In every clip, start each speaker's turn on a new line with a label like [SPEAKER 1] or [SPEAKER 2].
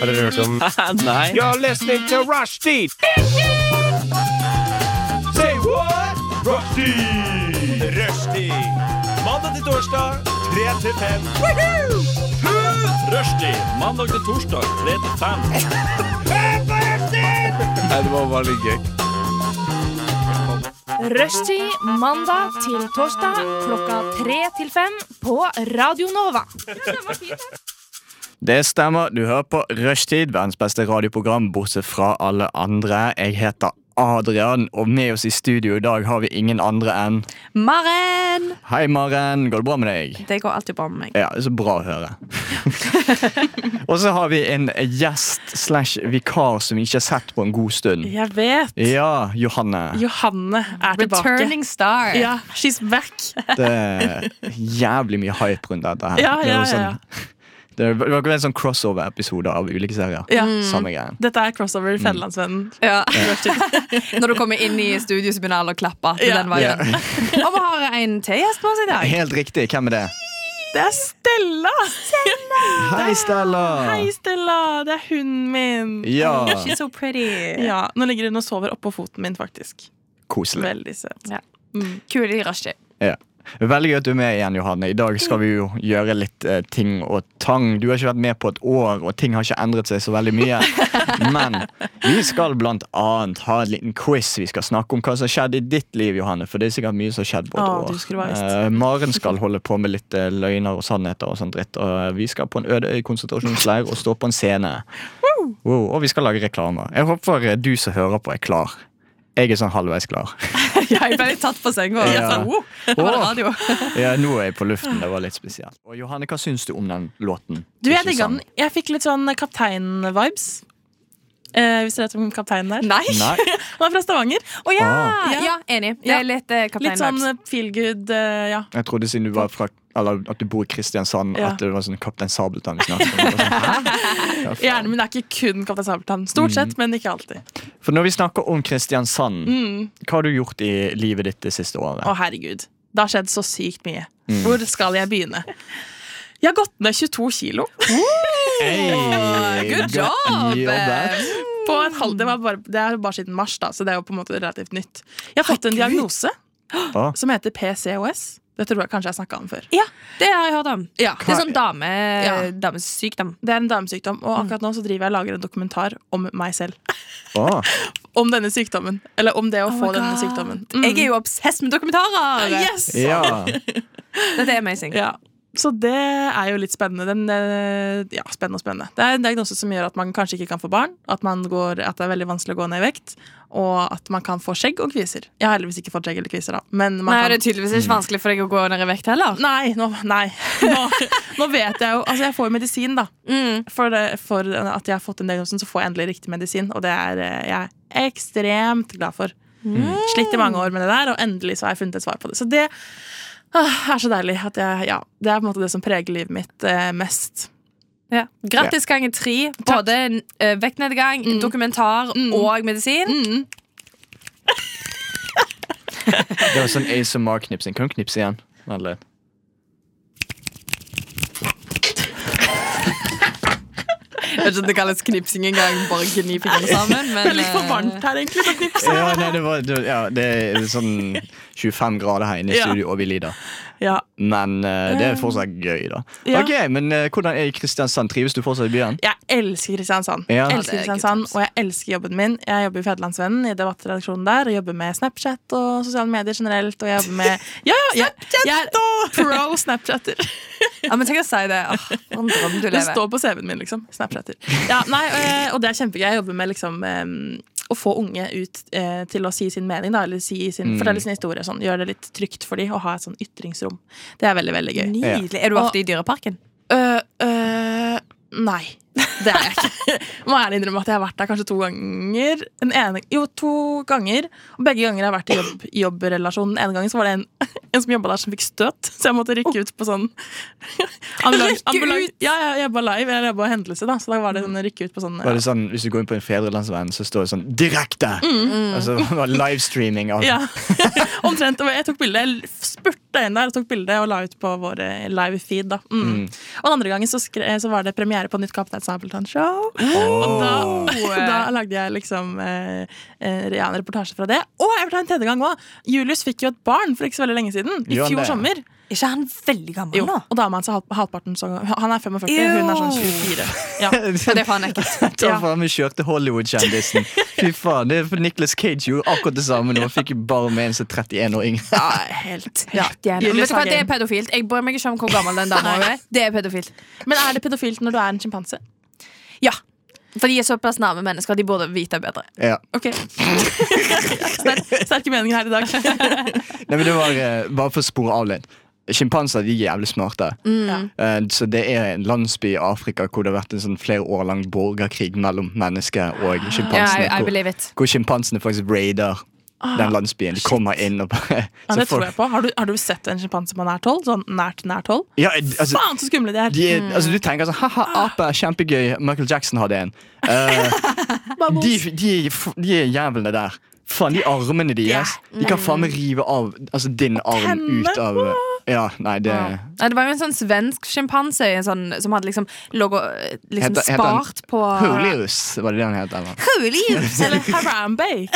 [SPEAKER 1] Har dere hørt om
[SPEAKER 2] Nei.
[SPEAKER 1] You're listening to Rushdie! Say what? Rushdie! Rushdie. Mandag til torsdag, 3 til 5.
[SPEAKER 3] Rushdie mandag til torsdag 3 til 5.
[SPEAKER 2] Nei, det var bare litt gøy.
[SPEAKER 4] Rushtid mandag til torsdag klokka tre til fem på Radio Nova.
[SPEAKER 2] Det stemmer. Du hører på Rushtid, verdens beste radioprogram, bortsett fra alle andre. Jeg heter Adrian, og med oss i studio i dag har vi ingen andre enn
[SPEAKER 5] Maren!
[SPEAKER 2] Hei, Maren. Går det bra med deg?
[SPEAKER 5] Det går alltid bra med meg.
[SPEAKER 2] Ja, det er så bra å høre. og så har vi en gjest slash vikar som vi ikke har sett på en god stund.
[SPEAKER 6] Jeg vet.
[SPEAKER 2] Ja, Johanne.
[SPEAKER 6] Johanne er tilbake.
[SPEAKER 5] Returning star.
[SPEAKER 6] Ja, she's back.
[SPEAKER 2] Det er jævlig mye hype rundt dette her.
[SPEAKER 6] Ja,
[SPEAKER 2] Det var
[SPEAKER 6] ja, ja, ja.
[SPEAKER 2] Sånn, det var ikke en sånn crossover-episode av ulike serier.
[SPEAKER 6] Ja.
[SPEAKER 2] Samme greien.
[SPEAKER 6] Dette er crossover
[SPEAKER 2] Mm.
[SPEAKER 6] Fedelandsvennen.
[SPEAKER 5] Ja. Når du kommer inn i studio, så begynner alle å klappe. til
[SPEAKER 6] Ja.
[SPEAKER 5] den veien. Og vi har en til gjest med oss i dag.
[SPEAKER 2] Helt riktig. Hvem er det?
[SPEAKER 6] Det er Stella!
[SPEAKER 2] Hei, Stella.
[SPEAKER 6] Hei, Stella! Det er hunden min.
[SPEAKER 2] Ja,
[SPEAKER 5] She's so pretty.
[SPEAKER 6] Ja, Nå ligger hun og sover oppå foten min, faktisk.
[SPEAKER 2] koselig.
[SPEAKER 6] Veldig søt.
[SPEAKER 5] Kul i rushtid.
[SPEAKER 2] Ja. Veldig gøy at du er med igjen, Johanne. I dag skal vi jo gjøre litt eh, ting og tang. Du har ikke vært med på et år, og ting har ikke endret seg så veldig mye. Men vi skal blant annet ha en liten quiz. Vi skal snakke om hva som har skjedd i ditt liv, Johanne. For det er sikkert mye som har skjedd på et
[SPEAKER 6] Å, du
[SPEAKER 2] år.
[SPEAKER 6] skulle bare visst.
[SPEAKER 2] Eh, Maren skal holde på med litt eh, løgner og sannheter og sånn dritt. Og vi skal på en øde øy konsentrasjonsleir og stå på en scene. Wow, og vi skal lage reklamer. Jeg håper eh, du som hører på, er klar. Jeg er sånn halvveis klar.
[SPEAKER 5] Jeg ble litt tatt på senga.
[SPEAKER 2] Ja.
[SPEAKER 5] Oh, det var
[SPEAKER 2] Åh.
[SPEAKER 5] radio.
[SPEAKER 2] Ja, nå er jeg på luften. Det var litt spesielt. Og Johanne, hva syns du om den låten?
[SPEAKER 6] Du, jeg
[SPEAKER 2] Ikke
[SPEAKER 6] digga den.
[SPEAKER 2] sant?
[SPEAKER 6] Jeg fikk litt sånn kaptein-vibes. Eh, hvis du vet hvem kapteinen er?
[SPEAKER 5] Nei!
[SPEAKER 2] Nei.
[SPEAKER 6] Han er fra Stavanger.
[SPEAKER 5] Å ja.
[SPEAKER 2] Ah.
[SPEAKER 5] ja! Enig. Det
[SPEAKER 6] Ja.
[SPEAKER 5] er litt eh, Kaptein
[SPEAKER 6] Litt sånn
[SPEAKER 5] Vibes.
[SPEAKER 6] eh, feel good, eh, ja.
[SPEAKER 2] Jeg trodde siden du var fra Eller at du bor i Kristiansand,
[SPEAKER 6] Ja.
[SPEAKER 2] at det var sånn Kaptein Sabeltann vi snakket om. Det var sånn, hæ? Ja, faen.
[SPEAKER 6] Hjernen min er ikke kun Kaptein Sabeltann.
[SPEAKER 2] Mm.
[SPEAKER 6] Stort sett, men ikke alltid.
[SPEAKER 2] For når vi snakker om Kristiansand,
[SPEAKER 5] Mm.
[SPEAKER 2] hva har du gjort i livet ditt det siste året?
[SPEAKER 6] Å, herregud. Det har skjedd så sykt mye. Hvor skal jeg begynne? Jeg har gått ned 22 kilo
[SPEAKER 2] Hey,
[SPEAKER 5] good
[SPEAKER 2] godt
[SPEAKER 5] job! eh.
[SPEAKER 2] jobbet.
[SPEAKER 6] på et halvt Det, var bare, det er jo bare siden mars, da, så det er jo på en måte relativt nytt. Jeg har fått en diagnose
[SPEAKER 2] Å.
[SPEAKER 6] som heter PCOS. Det tror jeg kanskje jeg snakka om før.
[SPEAKER 5] Ja, det har jeg hørt om.
[SPEAKER 6] Ja.
[SPEAKER 5] Det er sånn dame,
[SPEAKER 6] Ja.
[SPEAKER 5] damesykdom.
[SPEAKER 6] Det er en damesykdom, og akkurat nå så driver jeg og lager en dokumentar om meg selv.
[SPEAKER 2] Å,
[SPEAKER 6] Om denne sykdommen. Eller om det å få
[SPEAKER 5] Oh my
[SPEAKER 6] denne
[SPEAKER 5] God.
[SPEAKER 6] sykdommen.
[SPEAKER 5] mm. Jeg er jo obsess med dokumentarer!
[SPEAKER 6] Yes!
[SPEAKER 2] ja.
[SPEAKER 5] Dette er amazing.
[SPEAKER 6] Ja. Så det er jo litt spennende. Den, eh, ja, spennende og spennende. Det er en diagnose som gjør at man kanskje ikke kan få barn, at, man går, at det er veldig vanskelig å gå ned i vekt, og at man kan få skjegg og kviser. Jeg har heldigvis ikke fått skjegg eller kviser, da. Men man
[SPEAKER 5] Nei,
[SPEAKER 6] kan...
[SPEAKER 5] Det er tydeligvis ikke vanskelig for deg å gå ned i vekt heller.
[SPEAKER 6] Nei, nå, nei. Nå, Mm. nå vet jeg jo Altså, jeg får jo medisin, da. For, det, for at jeg har fått den diagnosen, så får jeg endelig riktig medisin, og det er eh, jeg er ekstremt glad for. Slitt i mange år med det der, og endelig så har jeg funnet et svar på det. Så det ah, er så deilig at jeg Ja. Det er på en måte det som preger livet mitt eh, mest.
[SPEAKER 5] Ja. Grattis ganger tre. Både eh, vektnedgang, dokumentar og medisin.
[SPEAKER 2] Det var sånn ASMR-knipsing. Kan du knipse igjen? Vent litt.
[SPEAKER 5] Jeg vet ikke om det kalles knipsing engang. Bare gni fingrene sammen. Men,
[SPEAKER 6] Det er litt for varmt her, egentlig. for å knipse.
[SPEAKER 2] Ja, nei, det, var, det- ja, det er sånn 25 grader her inne i
[SPEAKER 6] Ja.
[SPEAKER 2] studio, og vi lider.
[SPEAKER 6] Ja.
[SPEAKER 2] Men eh, det er fortsatt gøy, da.
[SPEAKER 6] Ja.
[SPEAKER 2] Ok, men eh, Hvordan er det i Kristiansand? Trives du fortsatt i byen?
[SPEAKER 6] Jeg elsker Kristiansand.
[SPEAKER 2] Ja.
[SPEAKER 6] Jeg
[SPEAKER 5] Ja, det
[SPEAKER 6] elsker
[SPEAKER 5] er
[SPEAKER 6] Kristiansand,
[SPEAKER 5] good times.
[SPEAKER 6] Og jeg elsker jobben min. Jeg jobber i Federlandsvennen, i debattredaksjonen der, og jobber med Snapchat og sosiale medier generelt. Og jeg jobber med Ja, ja, jeg, jeg er pro Snapchatter.
[SPEAKER 5] Ja, men tenk å si det. Åh, For en drøm du
[SPEAKER 6] Det
[SPEAKER 5] lever.
[SPEAKER 6] står på CV-en min, liksom. Snapchatter. Ja, nei, eh, og det er kjempegøy. Jeg jobber med liksom eh, å få unge ut eh, til å si sin mening, da, eller si sin, fortelle sin historie. og Sånn. Gjøre det litt trygt for dem å ha et sånn ytringsrom. Det er veldig, veldig gøy.
[SPEAKER 5] Nydelig. Er du ofte i Dyreparken?
[SPEAKER 6] Øh, øh, nei. Det er jeg ikke. Må ærlig innrømme at jeg har vært der kanskje to ganger. Den ene, jo, to ganger. Og begge ganger har jeg vært i jobb, jobbrelasjon. Den ene gangen så var det en, en som jobba der, som fikk støt, så jeg måtte rykke ut på sånn
[SPEAKER 5] Rykke ut?
[SPEAKER 6] Ja, jeg jobba live. Jeg jobba hendelse, da, så da var det sånn rykke ut på sånn
[SPEAKER 2] Var det sånn, Hvis du går inn på en fedrelandsvenn, så står det sånn Mm. 'direkte'! Altså, det var livestreaming av
[SPEAKER 6] Ja, omtrent. Og jeg tok bilde. Jeg spurte døgn der og tok bilde og la ut på vår eh, live feed. da mm. Og den andre gangen så, skre, så var det premiere på nytt Kaptein Sabeltann-show. Og da, da lagde jeg liksom eh, eh, ja, en reportasje fra det. Og jeg vil ta en tredje gang òg! Julius fikk jo et barn for ikke så veldig lenge siden. I
[SPEAKER 2] Gjør han
[SPEAKER 6] fjor
[SPEAKER 2] det?
[SPEAKER 6] sommer.
[SPEAKER 7] Er ikke han veldig gammel
[SPEAKER 6] Jo,
[SPEAKER 7] nå?
[SPEAKER 6] og dama hans er halv, halvparten så Han er 45, hun er sånn 24. Ja.
[SPEAKER 7] Ja, det er faen ekkelt.
[SPEAKER 2] Da faen meg kjørte Hollywood-kjendisen. Fy faen, det er Nicholas Cage gjorde akkurat det samme nå. Fikk jo bare med en som er 31 år yngre.
[SPEAKER 6] ja, helt ja.
[SPEAKER 7] Men vet du hva, Det er
[SPEAKER 6] Julius-saken.
[SPEAKER 7] pedofilt. Jeg bryr meg ikke om hvor gammel den dama er. Det er pedofilt.
[SPEAKER 6] Men er det pedofilt når du er en sjimpanse?
[SPEAKER 7] Ja. For de er såpass nærme mennesker. De burde vite bedre.
[SPEAKER 2] Ja.
[SPEAKER 6] Ok Sterk, Sterke meninger her i dag.
[SPEAKER 2] Nei, men det var eh, Bare for å spore av litt. Sjimpanser de er jævlig smarte. Eh, så det er en landsby i Afrika hvor det har vært en sånn flere år lang borgerkrig mellom mennesker og sjimpansene.
[SPEAKER 7] I- I
[SPEAKER 2] hvor-
[SPEAKER 7] believe it.
[SPEAKER 2] Hvor sjimpansene faktisk raider den landsbyen. De kommer inn og bare
[SPEAKER 6] Ah. Ja,
[SPEAKER 2] så
[SPEAKER 6] det
[SPEAKER 2] folk-
[SPEAKER 6] tror jeg på. Har du, har du sett en sjimpanse på nært hold? Sånn nært, nært hold?
[SPEAKER 2] Ja, altså,
[SPEAKER 6] Faen, så skumle de er!
[SPEAKER 2] de, er- altså, du tenker sånn Ha-ha,
[SPEAKER 6] Ah.
[SPEAKER 2] ape er kjempegøy. Michael Jackson hadde en. Eh, de, de, de er jævlene der. Faen, de armene deres. De kan faen
[SPEAKER 6] mm.
[SPEAKER 2] meg rive av altså, din arm
[SPEAKER 6] tennene.
[SPEAKER 2] ut av Ja, nei, det
[SPEAKER 7] Nei, det var jo en sånn svensk sjimpanse sånn, som hadde liksom, logo, liksom
[SPEAKER 2] Heter- heter han
[SPEAKER 7] spart på
[SPEAKER 6] Ah.
[SPEAKER 2] Hulius, var det det han het? eller?
[SPEAKER 7] Hulius!
[SPEAKER 6] Eller Harambe.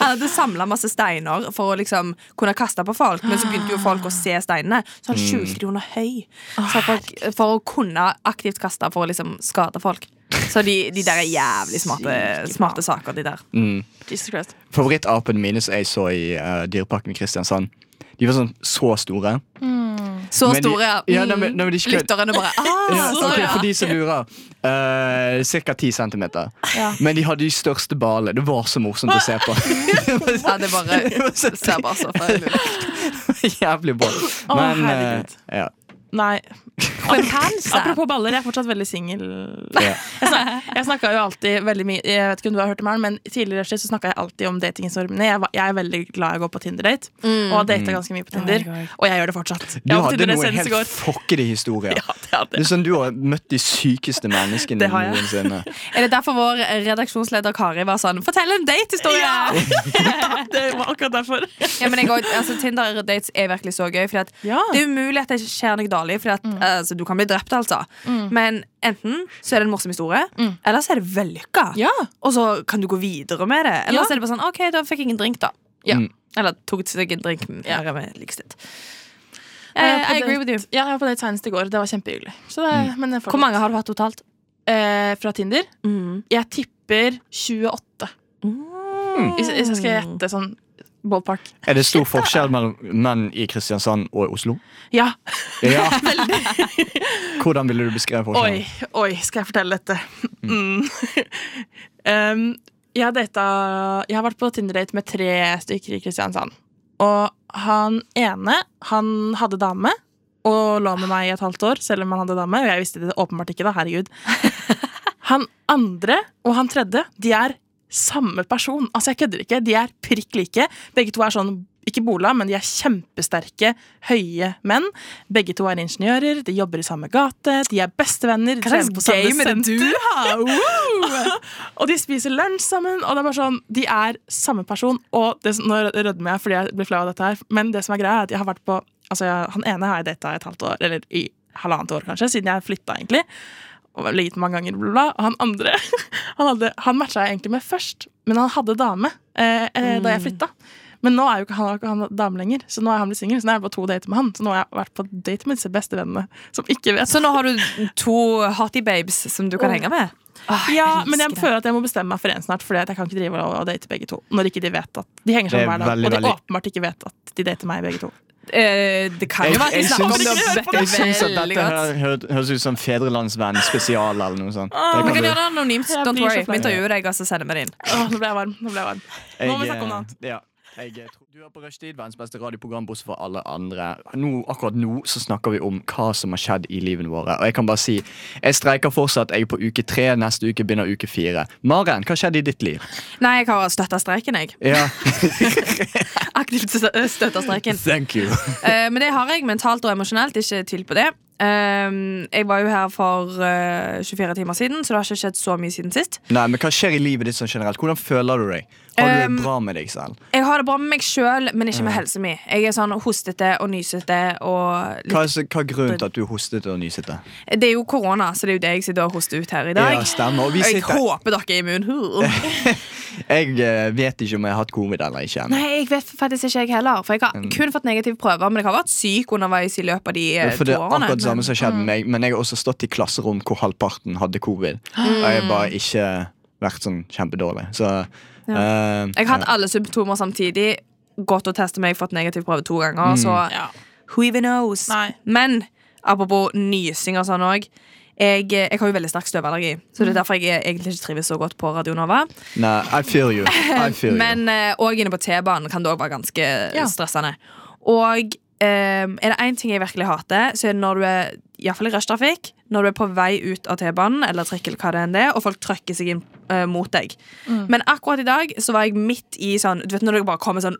[SPEAKER 7] Han hadde samla masse steiner for å liksom kunne kaste på folk, men så begynte jo folk å se steinene. Så
[SPEAKER 2] Mm.
[SPEAKER 7] han 20 kroner høy så folk, for å kunne aktivt kaste for å liksom skade folk. Så de, de der er jævlig smarte, smarte saker, de der.
[SPEAKER 2] Mm.
[SPEAKER 6] Jesus Christ.
[SPEAKER 2] Favorittapene mine som jeg så i eh, Dyreparken i Kristiansand, de var sånn så store.
[SPEAKER 7] Så
[SPEAKER 2] Men de-
[SPEAKER 7] store, mm,
[SPEAKER 2] ja, nei,
[SPEAKER 6] Mm.
[SPEAKER 2] men- nei, men de ikke-
[SPEAKER 7] Lytterne bare ah,
[SPEAKER 2] Ja,
[SPEAKER 7] så,
[SPEAKER 2] ok,
[SPEAKER 7] ja.
[SPEAKER 2] For de som lurer. Uh, Ca. 10 cm. Men de hadde de største balene. Det var så morsomt å se på.
[SPEAKER 7] altså." ja, det bare
[SPEAKER 2] Det var så
[SPEAKER 7] det ser bare så feil ut.
[SPEAKER 2] Jævlig bra.
[SPEAKER 6] Å,
[SPEAKER 2] Men eh,
[SPEAKER 6] herregud.
[SPEAKER 2] ja,
[SPEAKER 6] Nei.
[SPEAKER 7] Men cancer
[SPEAKER 6] Apropos baller, jeg er fortsatt veldig singel.
[SPEAKER 2] ja.
[SPEAKER 6] Jeg snakket jo alltid veldig mye Jeg vet ikke om du har hørt det meg, men tidligere i rushtid så snakket jeg alltid om datingstormene. Jeg, var- jeg er veldig glad i å gå på Tinder-date, og har data ganske mye på Tinder. og jeg gjør det fortsatt. Jeg
[SPEAKER 2] Du
[SPEAKER 6] var på
[SPEAKER 2] hadde
[SPEAKER 6] Tinder-date
[SPEAKER 2] noen
[SPEAKER 6] senest i
[SPEAKER 2] helt fokkede historier.
[SPEAKER 6] går. Ja, det hadde
[SPEAKER 2] Det
[SPEAKER 6] jeg.
[SPEAKER 2] er sånn Du har møtt de sykeste menneskene
[SPEAKER 6] Det har jeg.
[SPEAKER 2] noensinne.
[SPEAKER 7] Er det derfor vår redaksjonsleder Kari var sånn Fortell en datehistorie!
[SPEAKER 6] Ja.
[SPEAKER 7] Ja.
[SPEAKER 6] Det var akkurat derfor.
[SPEAKER 7] men jeg, også- altså, Tinder-dates er virkelig så gøy. Fordi at
[SPEAKER 6] Ja. Mm.
[SPEAKER 7] Det er umulig at det ikke skjer noe dårlig, for altså, du kan bli drept. altså Men enten så er det en morsom historie, eller så er det vellykka.
[SPEAKER 6] Mm. Ja.
[SPEAKER 7] Og så kan du gå videre med det. Eller
[SPEAKER 6] Ja.
[SPEAKER 7] så er det bare sånn OK, da fikk jeg en drink, da. Ja.
[SPEAKER 2] Mm.
[SPEAKER 7] Eller tok seg en drink. Ja.
[SPEAKER 6] Jeg var Eh, på
[SPEAKER 7] I agree
[SPEAKER 6] date-
[SPEAKER 7] with you. Mm.
[SPEAKER 6] Ja, jeg var på date senest i går. Det var kjempehyggelig. Så det, men jeg får-
[SPEAKER 7] Hvor mange har du hatt totalt?
[SPEAKER 6] Eh, fra Tinder?
[SPEAKER 7] mm.
[SPEAKER 6] Jeg tipper 28.
[SPEAKER 7] Mm.
[SPEAKER 6] Hvis, hvis jeg skal gjette sånn ballpark.
[SPEAKER 2] Er det stor forskjell mellom menn i Kristiansand og Oslo?
[SPEAKER 6] Ja.
[SPEAKER 2] Ja. Hvordan ville du beskrevet
[SPEAKER 6] Oi,
[SPEAKER 2] forskjellen?
[SPEAKER 6] oi, skal jeg fortelle dette? Mm. um, jeg, har data, jeg har vært på Tinder-date med tre stykker i Kristiansand. Og han ene, han hadde dame og lå med meg i et halvt år, selv om han hadde dame. Og jeg visste det åpenbart ikke, da. Herregud. Han andre og han tredje, de er samme person. Altså, jeg kødder ikke. De er prikk like. Begge to er sånn ikke bola, men de er kjempesterke, høye menn. Begge to er ingeniører, de jobber i samme gate, de er bestevenner. Hva
[SPEAKER 7] slags game er det du
[SPEAKER 6] har? og de spiser lunsj sammen, og det er bare sånn De er samme person. Og det, som- nå rødmer jeg fordi jeg blir flau av dette her, men det som er greia, er at jeg har vært på Altså, jeg, han ene har jeg data i et halvt år, eller i halvannet år, kanskje, siden jeg flytta, egentlig og ligget mange ganger, bla, bla, bla. Og han andre han, hadde, han matcha jeg egentlig med først, men han hadde dame eh, eh, da jeg flytta. Men nå er jo ikke han, har ikke han dame lenger, så nå er han blitt singel. Så nå er jeg på to dater med han. Så nå har jeg vært på date med disse bestevennene som ikke vet.
[SPEAKER 7] Så nå har du to hottie babes som
[SPEAKER 6] Oh.
[SPEAKER 7] du kan henge med? Åh,
[SPEAKER 6] ja, men jeg
[SPEAKER 7] elsker det.
[SPEAKER 6] føler at jeg må bestemme meg for en snart, for jeg kan ikke drive og, og date begge to. Når ikke de vet at De henger
[SPEAKER 2] Det er
[SPEAKER 6] sammen hver dag,
[SPEAKER 2] veldig,
[SPEAKER 6] og de
[SPEAKER 2] veldig-
[SPEAKER 6] åpenbart ikke vet at de dater meg, begge to.
[SPEAKER 7] Eh, det kan
[SPEAKER 2] Jeg,
[SPEAKER 7] jo være at
[SPEAKER 2] jeg,
[SPEAKER 7] de snakker om
[SPEAKER 2] syns,
[SPEAKER 7] det
[SPEAKER 2] jeg syns at
[SPEAKER 7] veldig
[SPEAKER 2] dette
[SPEAKER 7] godt.
[SPEAKER 2] her hø- høres ut som Fedrelandsvenn spesial eller noe sånt. Det
[SPEAKER 7] Vi
[SPEAKER 2] kan
[SPEAKER 7] kan
[SPEAKER 2] du-
[SPEAKER 7] gjøre det anonymt.
[SPEAKER 6] Jeg
[SPEAKER 7] Don't
[SPEAKER 6] blir så
[SPEAKER 7] worry.
[SPEAKER 6] flau.
[SPEAKER 7] Vi intervjuer deg, og så sender vi det inn.
[SPEAKER 6] Åh, nå ble jeg varm. Nå ble jeg varm. Nå må vi
[SPEAKER 2] Jeg,
[SPEAKER 6] snakke om noe annet.
[SPEAKER 2] eh, Ja. Jeg, eh, tror- du er på Rushtid, verdens beste radioprogram, bortsett fra alle andre. Nå, akkurat nå så snakker vi om hva som har skjedd i livene våre. Og jeg kan bare si, jeg streiker fortsatt. Jeg er på uke tre, neste uke begynner uke fire. Maren, hva skjedde i ditt liv?
[SPEAKER 7] Nei, jeg har støtta streiken, jeg.
[SPEAKER 2] Ja,
[SPEAKER 7] Aktivt støtta streiken.
[SPEAKER 2] thank you.
[SPEAKER 7] Eh, men det har jeg mentalt og emosjonelt. Ikke tvil på det. Ehm, jeg var jo her for eh, 24 timer siden, så det har ikke skjedd så mye siden sist.
[SPEAKER 2] Nei, men Hva skjer i livet ditt sånn generelt? Hvordan føler du deg? Har du
[SPEAKER 7] Um,
[SPEAKER 2] det bra med deg selv?
[SPEAKER 7] Jeg har det bra med meg sjøl, men ikke med
[SPEAKER 2] Mm.
[SPEAKER 7] helsen min. Jeg er sånn hostete og nysete og litt
[SPEAKER 2] Hva er, så- hva er grunnen til at du hostet og nysete?
[SPEAKER 7] Det er jo korona, så det er jo det jeg sitter og hoster ut her i dag.
[SPEAKER 2] Ja, stemmer. Og vi
[SPEAKER 7] jeg
[SPEAKER 2] sitter-
[SPEAKER 7] håper dere er immune.
[SPEAKER 2] Jeg eh, vet ikke om jeg har hatt covid eller ikke. ennå.
[SPEAKER 7] Nei, jeg vet faktisk ikke jeg heller. For jeg har
[SPEAKER 2] Mm.
[SPEAKER 7] kun fått negative prøver, men jeg har vært syk underveis i løpet av de eh, Mm.
[SPEAKER 2] For det
[SPEAKER 7] to
[SPEAKER 2] er
[SPEAKER 7] årene.
[SPEAKER 2] akkurat det samme som skjedde med meg, men jeg har også stått i klasserom hvor halvparten hadde covid. Og jeg har
[SPEAKER 7] Mm.
[SPEAKER 2] bare ikke vært sånn kjempedårlig. Så eh,
[SPEAKER 7] Jeg har hatt alle symptomer samtidig. Gått og testet meg, fått negativ prøve to ganger. Så
[SPEAKER 6] Ja.
[SPEAKER 7] who even knows?
[SPEAKER 6] Nei.
[SPEAKER 7] Men apropos nysing og sånn òg. Jeg, eh, jeg har jo veldig sterk støvallergi, så
[SPEAKER 6] Mm.
[SPEAKER 7] det er derfor jeg eh, egentlig ikke trives så godt på Radio Nova.
[SPEAKER 2] Nei, I feel you. I feel you.
[SPEAKER 7] Men òg inne på T-banen kan det òg være ganske stressende. Og eh, er det én ting jeg virkelig hater, så er det når du er i hvert fall i rushtrafikk, når du er på vei ut av T-banen eller trikkel, hva det enn det er, og folk trøkker seg inn eh, mot deg. Men akkurat i dag så var jeg midt i sånn Du vet når det bare kommer sånn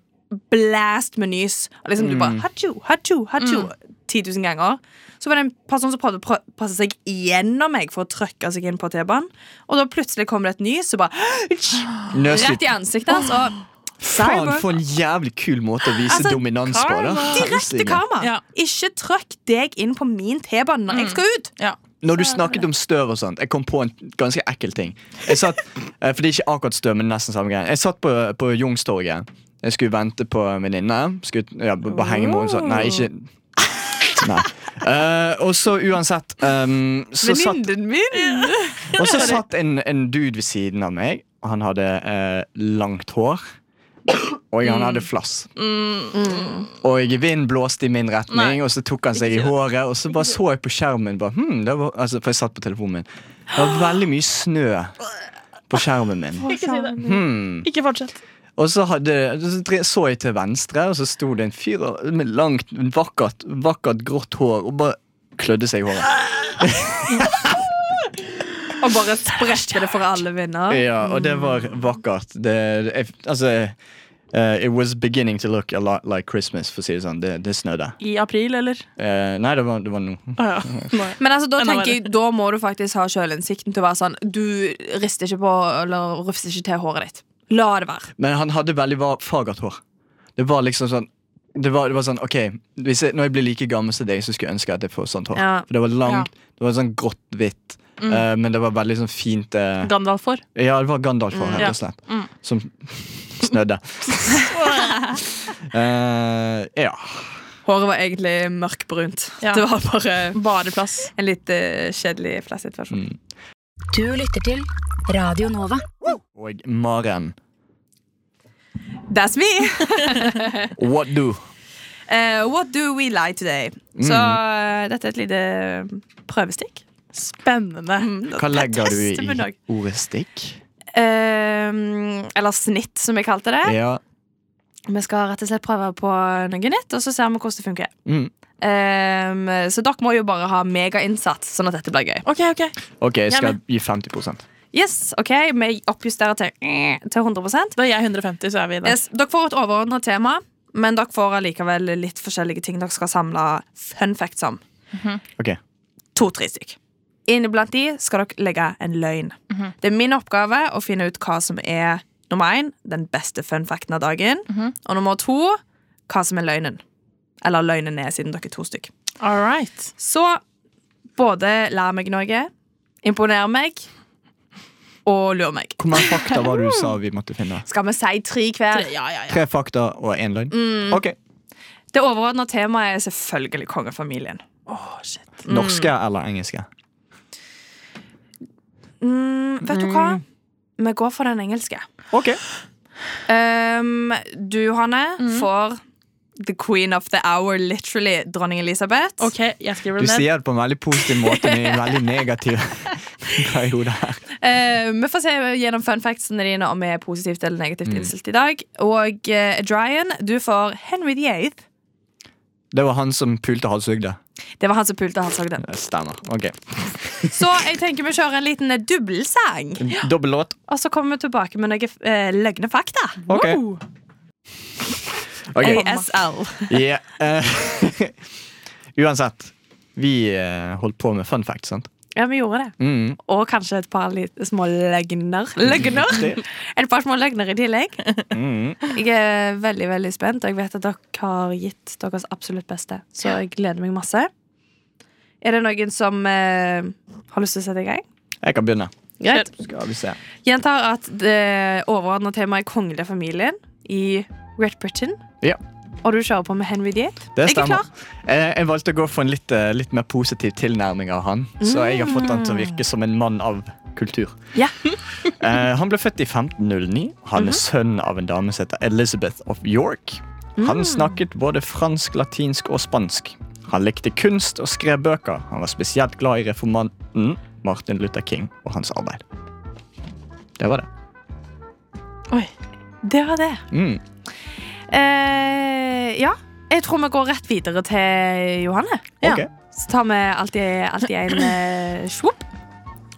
[SPEAKER 7] blast med nys, og liksom du bare hachu, hachu, hachu 10 000 ganger. Så var det en person som prøvde å prø- passe seg gjennom meg for å trøkke seg inn på T-banen, og da plutselig kom det et nys, så bare
[SPEAKER 2] Nøslig.
[SPEAKER 7] Rett i ansiktet hans. Og
[SPEAKER 2] Faen,
[SPEAKER 7] Cyborg.
[SPEAKER 2] for en jævlig kul måte å vise
[SPEAKER 7] Altså,
[SPEAKER 2] dominans på. Da.
[SPEAKER 7] direkte
[SPEAKER 2] Helsike.
[SPEAKER 7] karma.
[SPEAKER 6] Ja.
[SPEAKER 7] Ikke trykk deg inn på min T-bane når jeg skal ut.
[SPEAKER 6] Ja.
[SPEAKER 2] Når du snakket om støv og sånt, jeg kom på en ganske ekkel ting. Jeg satt, eh, for det er ikke akkurat støv, men nesten samme greie. Jeg satt på, på Youngstorget. Jeg skulle vente på en venninne. Skulle ja, b- bare henge med henne sånn. Nei, ikke Nei. Eh, og så uansett um, så satt,
[SPEAKER 7] min!
[SPEAKER 2] Og så satt en, en dude ved siden av meg. og Han hadde eh, langt hår. Og han hadde flass. Og vinden blåste i min retning, og så tok han seg i håret. Og så bare så jeg på skjermen, bare, hm, det var, altså, for jeg satt på telefonen min. Det var veldig mye snø på skjermen min.
[SPEAKER 6] Ikke si det.
[SPEAKER 2] Hmm.
[SPEAKER 6] Ikke fortsett.
[SPEAKER 2] Og så, hadde, så dre- så jeg til venstre, og så sto det en fyr med langt, vakkert, vakkert grått hår og bare klødde seg i håret.
[SPEAKER 7] Og bare spredte det for alle vinner.
[SPEAKER 2] Ja, og det var vakkert. Det, jeg, altså eh, It was beginning to look a lot like Christmas, for å si det sånn. Det, det snødde.
[SPEAKER 6] I april, eller?
[SPEAKER 2] Eh, nei, det var, det var nå.
[SPEAKER 6] Å ja. Nei.
[SPEAKER 7] Men altså, da
[SPEAKER 6] Enda
[SPEAKER 7] tenker jeg, da må du faktisk ha sjølinnsikten til å være sånn Du rister ikke på eller rufser ikke til håret ditt. La det være.
[SPEAKER 2] Men han hadde veldig va- fagert hår. Det var liksom sånn det var, det var sånn, ok hvis jeg, Når jeg blir like gammel som deg, så skulle jeg ønske at jeg får sånt hår.
[SPEAKER 7] Ja.
[SPEAKER 2] For det var langt, det var sånn grått hvitt, eh, men det var veldig sånn fint eh,
[SPEAKER 6] Gandalf for.
[SPEAKER 2] Ja, det var Gandalf hår, rett
[SPEAKER 6] Ja.
[SPEAKER 2] og slett. Som snødde. Eh, ja.
[SPEAKER 7] Håret var egentlig mørkbrunt.
[SPEAKER 6] Ja.
[SPEAKER 7] Det var bare
[SPEAKER 6] Bare plass.
[SPEAKER 7] en litt eh, kjedelig flasshet. versjon.
[SPEAKER 8] Du lytter til Radio Nova.
[SPEAKER 2] Og Maren.
[SPEAKER 7] That's me!
[SPEAKER 2] What do?
[SPEAKER 7] Eh, what do we lie today? Så
[SPEAKER 2] Mm.
[SPEAKER 7] eh, dette er et lite prøvestikk. Mm,
[SPEAKER 6] Spennende.
[SPEAKER 2] Hva legger du
[SPEAKER 6] tester vi i
[SPEAKER 2] i
[SPEAKER 6] dag.
[SPEAKER 2] ordet stikk?
[SPEAKER 7] Ehm, eller snitt, som jeg kalte det.
[SPEAKER 2] Ja.
[SPEAKER 7] Vi skal rett og slett prøve på noe nytt, og så ser vi hvordan det funker.
[SPEAKER 2] Mm.
[SPEAKER 7] Ehm, så dere må jo bare ha megainnsats, sånn at dette blir gøy.
[SPEAKER 6] Ok, ok.
[SPEAKER 2] Ok, jeg
[SPEAKER 6] Ja,
[SPEAKER 2] skal gi 50
[SPEAKER 7] Yes, ok, Vi oppjusterer til, eh, til 100
[SPEAKER 6] Da er jeg 150, så er vi der.
[SPEAKER 7] yes, Dere får et overordnet tema, men dere får allikevel litt forskjellige ting dere skal samle fun facts om.
[SPEAKER 2] Ok,
[SPEAKER 7] To-tre stykk. Inniblant de skal dere legge en løgn. Det er min oppgave å finne ut hva som er nummer én, den beste fun facten av dagen. Og nummer to, hva som er løgnen. Eller løgnen er, siden dere er to stykk.
[SPEAKER 6] All right.
[SPEAKER 7] Så både lær meg noe, imponer meg og lur meg.
[SPEAKER 2] Hvor mange fakta var det du sa vi måtte finne?
[SPEAKER 7] Skal vi si tre hver?
[SPEAKER 6] Ja, ja, Mm. ja.
[SPEAKER 2] Tre fakta og én løgn? Ok,
[SPEAKER 7] Det overordna temaet er selvfølgelig kongefamilien.
[SPEAKER 2] Norske eller engelske?
[SPEAKER 7] Mm, vet du hva? Vi går for den engelske.
[SPEAKER 2] Ok
[SPEAKER 7] Um, du, Hanne, får The Queen of the Hour, literally dronning Elisabeth.
[SPEAKER 6] Ok, jeg skriver
[SPEAKER 2] Du
[SPEAKER 6] det ned.
[SPEAKER 2] sier det på en veldig positiv måte, men i en veldig negativ periode her.
[SPEAKER 7] Eh, vi får se gjennom fun factsene dine om vi er positivt eller negativt innstilt i dag. Og eh, Dryan, du får Henry the Eighth.
[SPEAKER 2] Det var han som pulte halshugde.
[SPEAKER 7] Det var han som pulte halshogden.
[SPEAKER 2] Det Stemmer. Ok
[SPEAKER 7] Så jeg tenker vi kjører en liten eh, dubbelsang.
[SPEAKER 2] Dobbel låt.
[SPEAKER 7] Og så kommer vi tilbake med noen eh, løgne fakta.
[SPEAKER 2] Ok. Ok.
[SPEAKER 7] ASL.
[SPEAKER 2] Yeah. eh, Uansett. Vi eh, holdt på med fun facts, sant?
[SPEAKER 7] Ja, vi gjorde det.
[SPEAKER 2] Mm.
[SPEAKER 7] Og kanskje et par litt, små løgner. Løgner?
[SPEAKER 2] Det-
[SPEAKER 7] Et par små løgner i tillegg.
[SPEAKER 2] Mm.
[SPEAKER 7] Jeg er veldig veldig spent, og jeg vet at dere har gitt deres absolutt beste. Så jeg gleder meg masse. Er det noen som eh, har lyst til å sette i gang?
[SPEAKER 2] Jeg kan begynne.
[SPEAKER 7] Greit.
[SPEAKER 2] Skal vi se.
[SPEAKER 7] Gjentar at det overordna temaet er konglefamilien i Great Britain.
[SPEAKER 2] Ja.
[SPEAKER 7] Og du kjører på med Henry Diet.
[SPEAKER 2] Det
[SPEAKER 7] Jeg er
[SPEAKER 2] stemmer.
[SPEAKER 7] klar.
[SPEAKER 2] Eh, jeg valgte å gå for en litt, eh, litt mer positiv tilnærming av han. Så jeg har fått han til å virke som en mann av kultur.
[SPEAKER 7] Mm. Ja.
[SPEAKER 2] Eh, han ble født i 1509. Han er
[SPEAKER 7] Mhm.
[SPEAKER 2] sønn av en dame som heter Elizabeth of York. Han
[SPEAKER 7] Mm.
[SPEAKER 2] snakket både fransk, latinsk og spansk. Han likte kunst og skrev bøker. Han var spesielt glad i reformanten Martin Luther King og hans arbeid. Det var det.
[SPEAKER 7] Det var det.
[SPEAKER 2] Mm.
[SPEAKER 7] Eh, ja. Jeg tror vi går rett videre til Johanne.
[SPEAKER 2] Ok.
[SPEAKER 7] Så tar vi alltid, alltid en eh, svopp.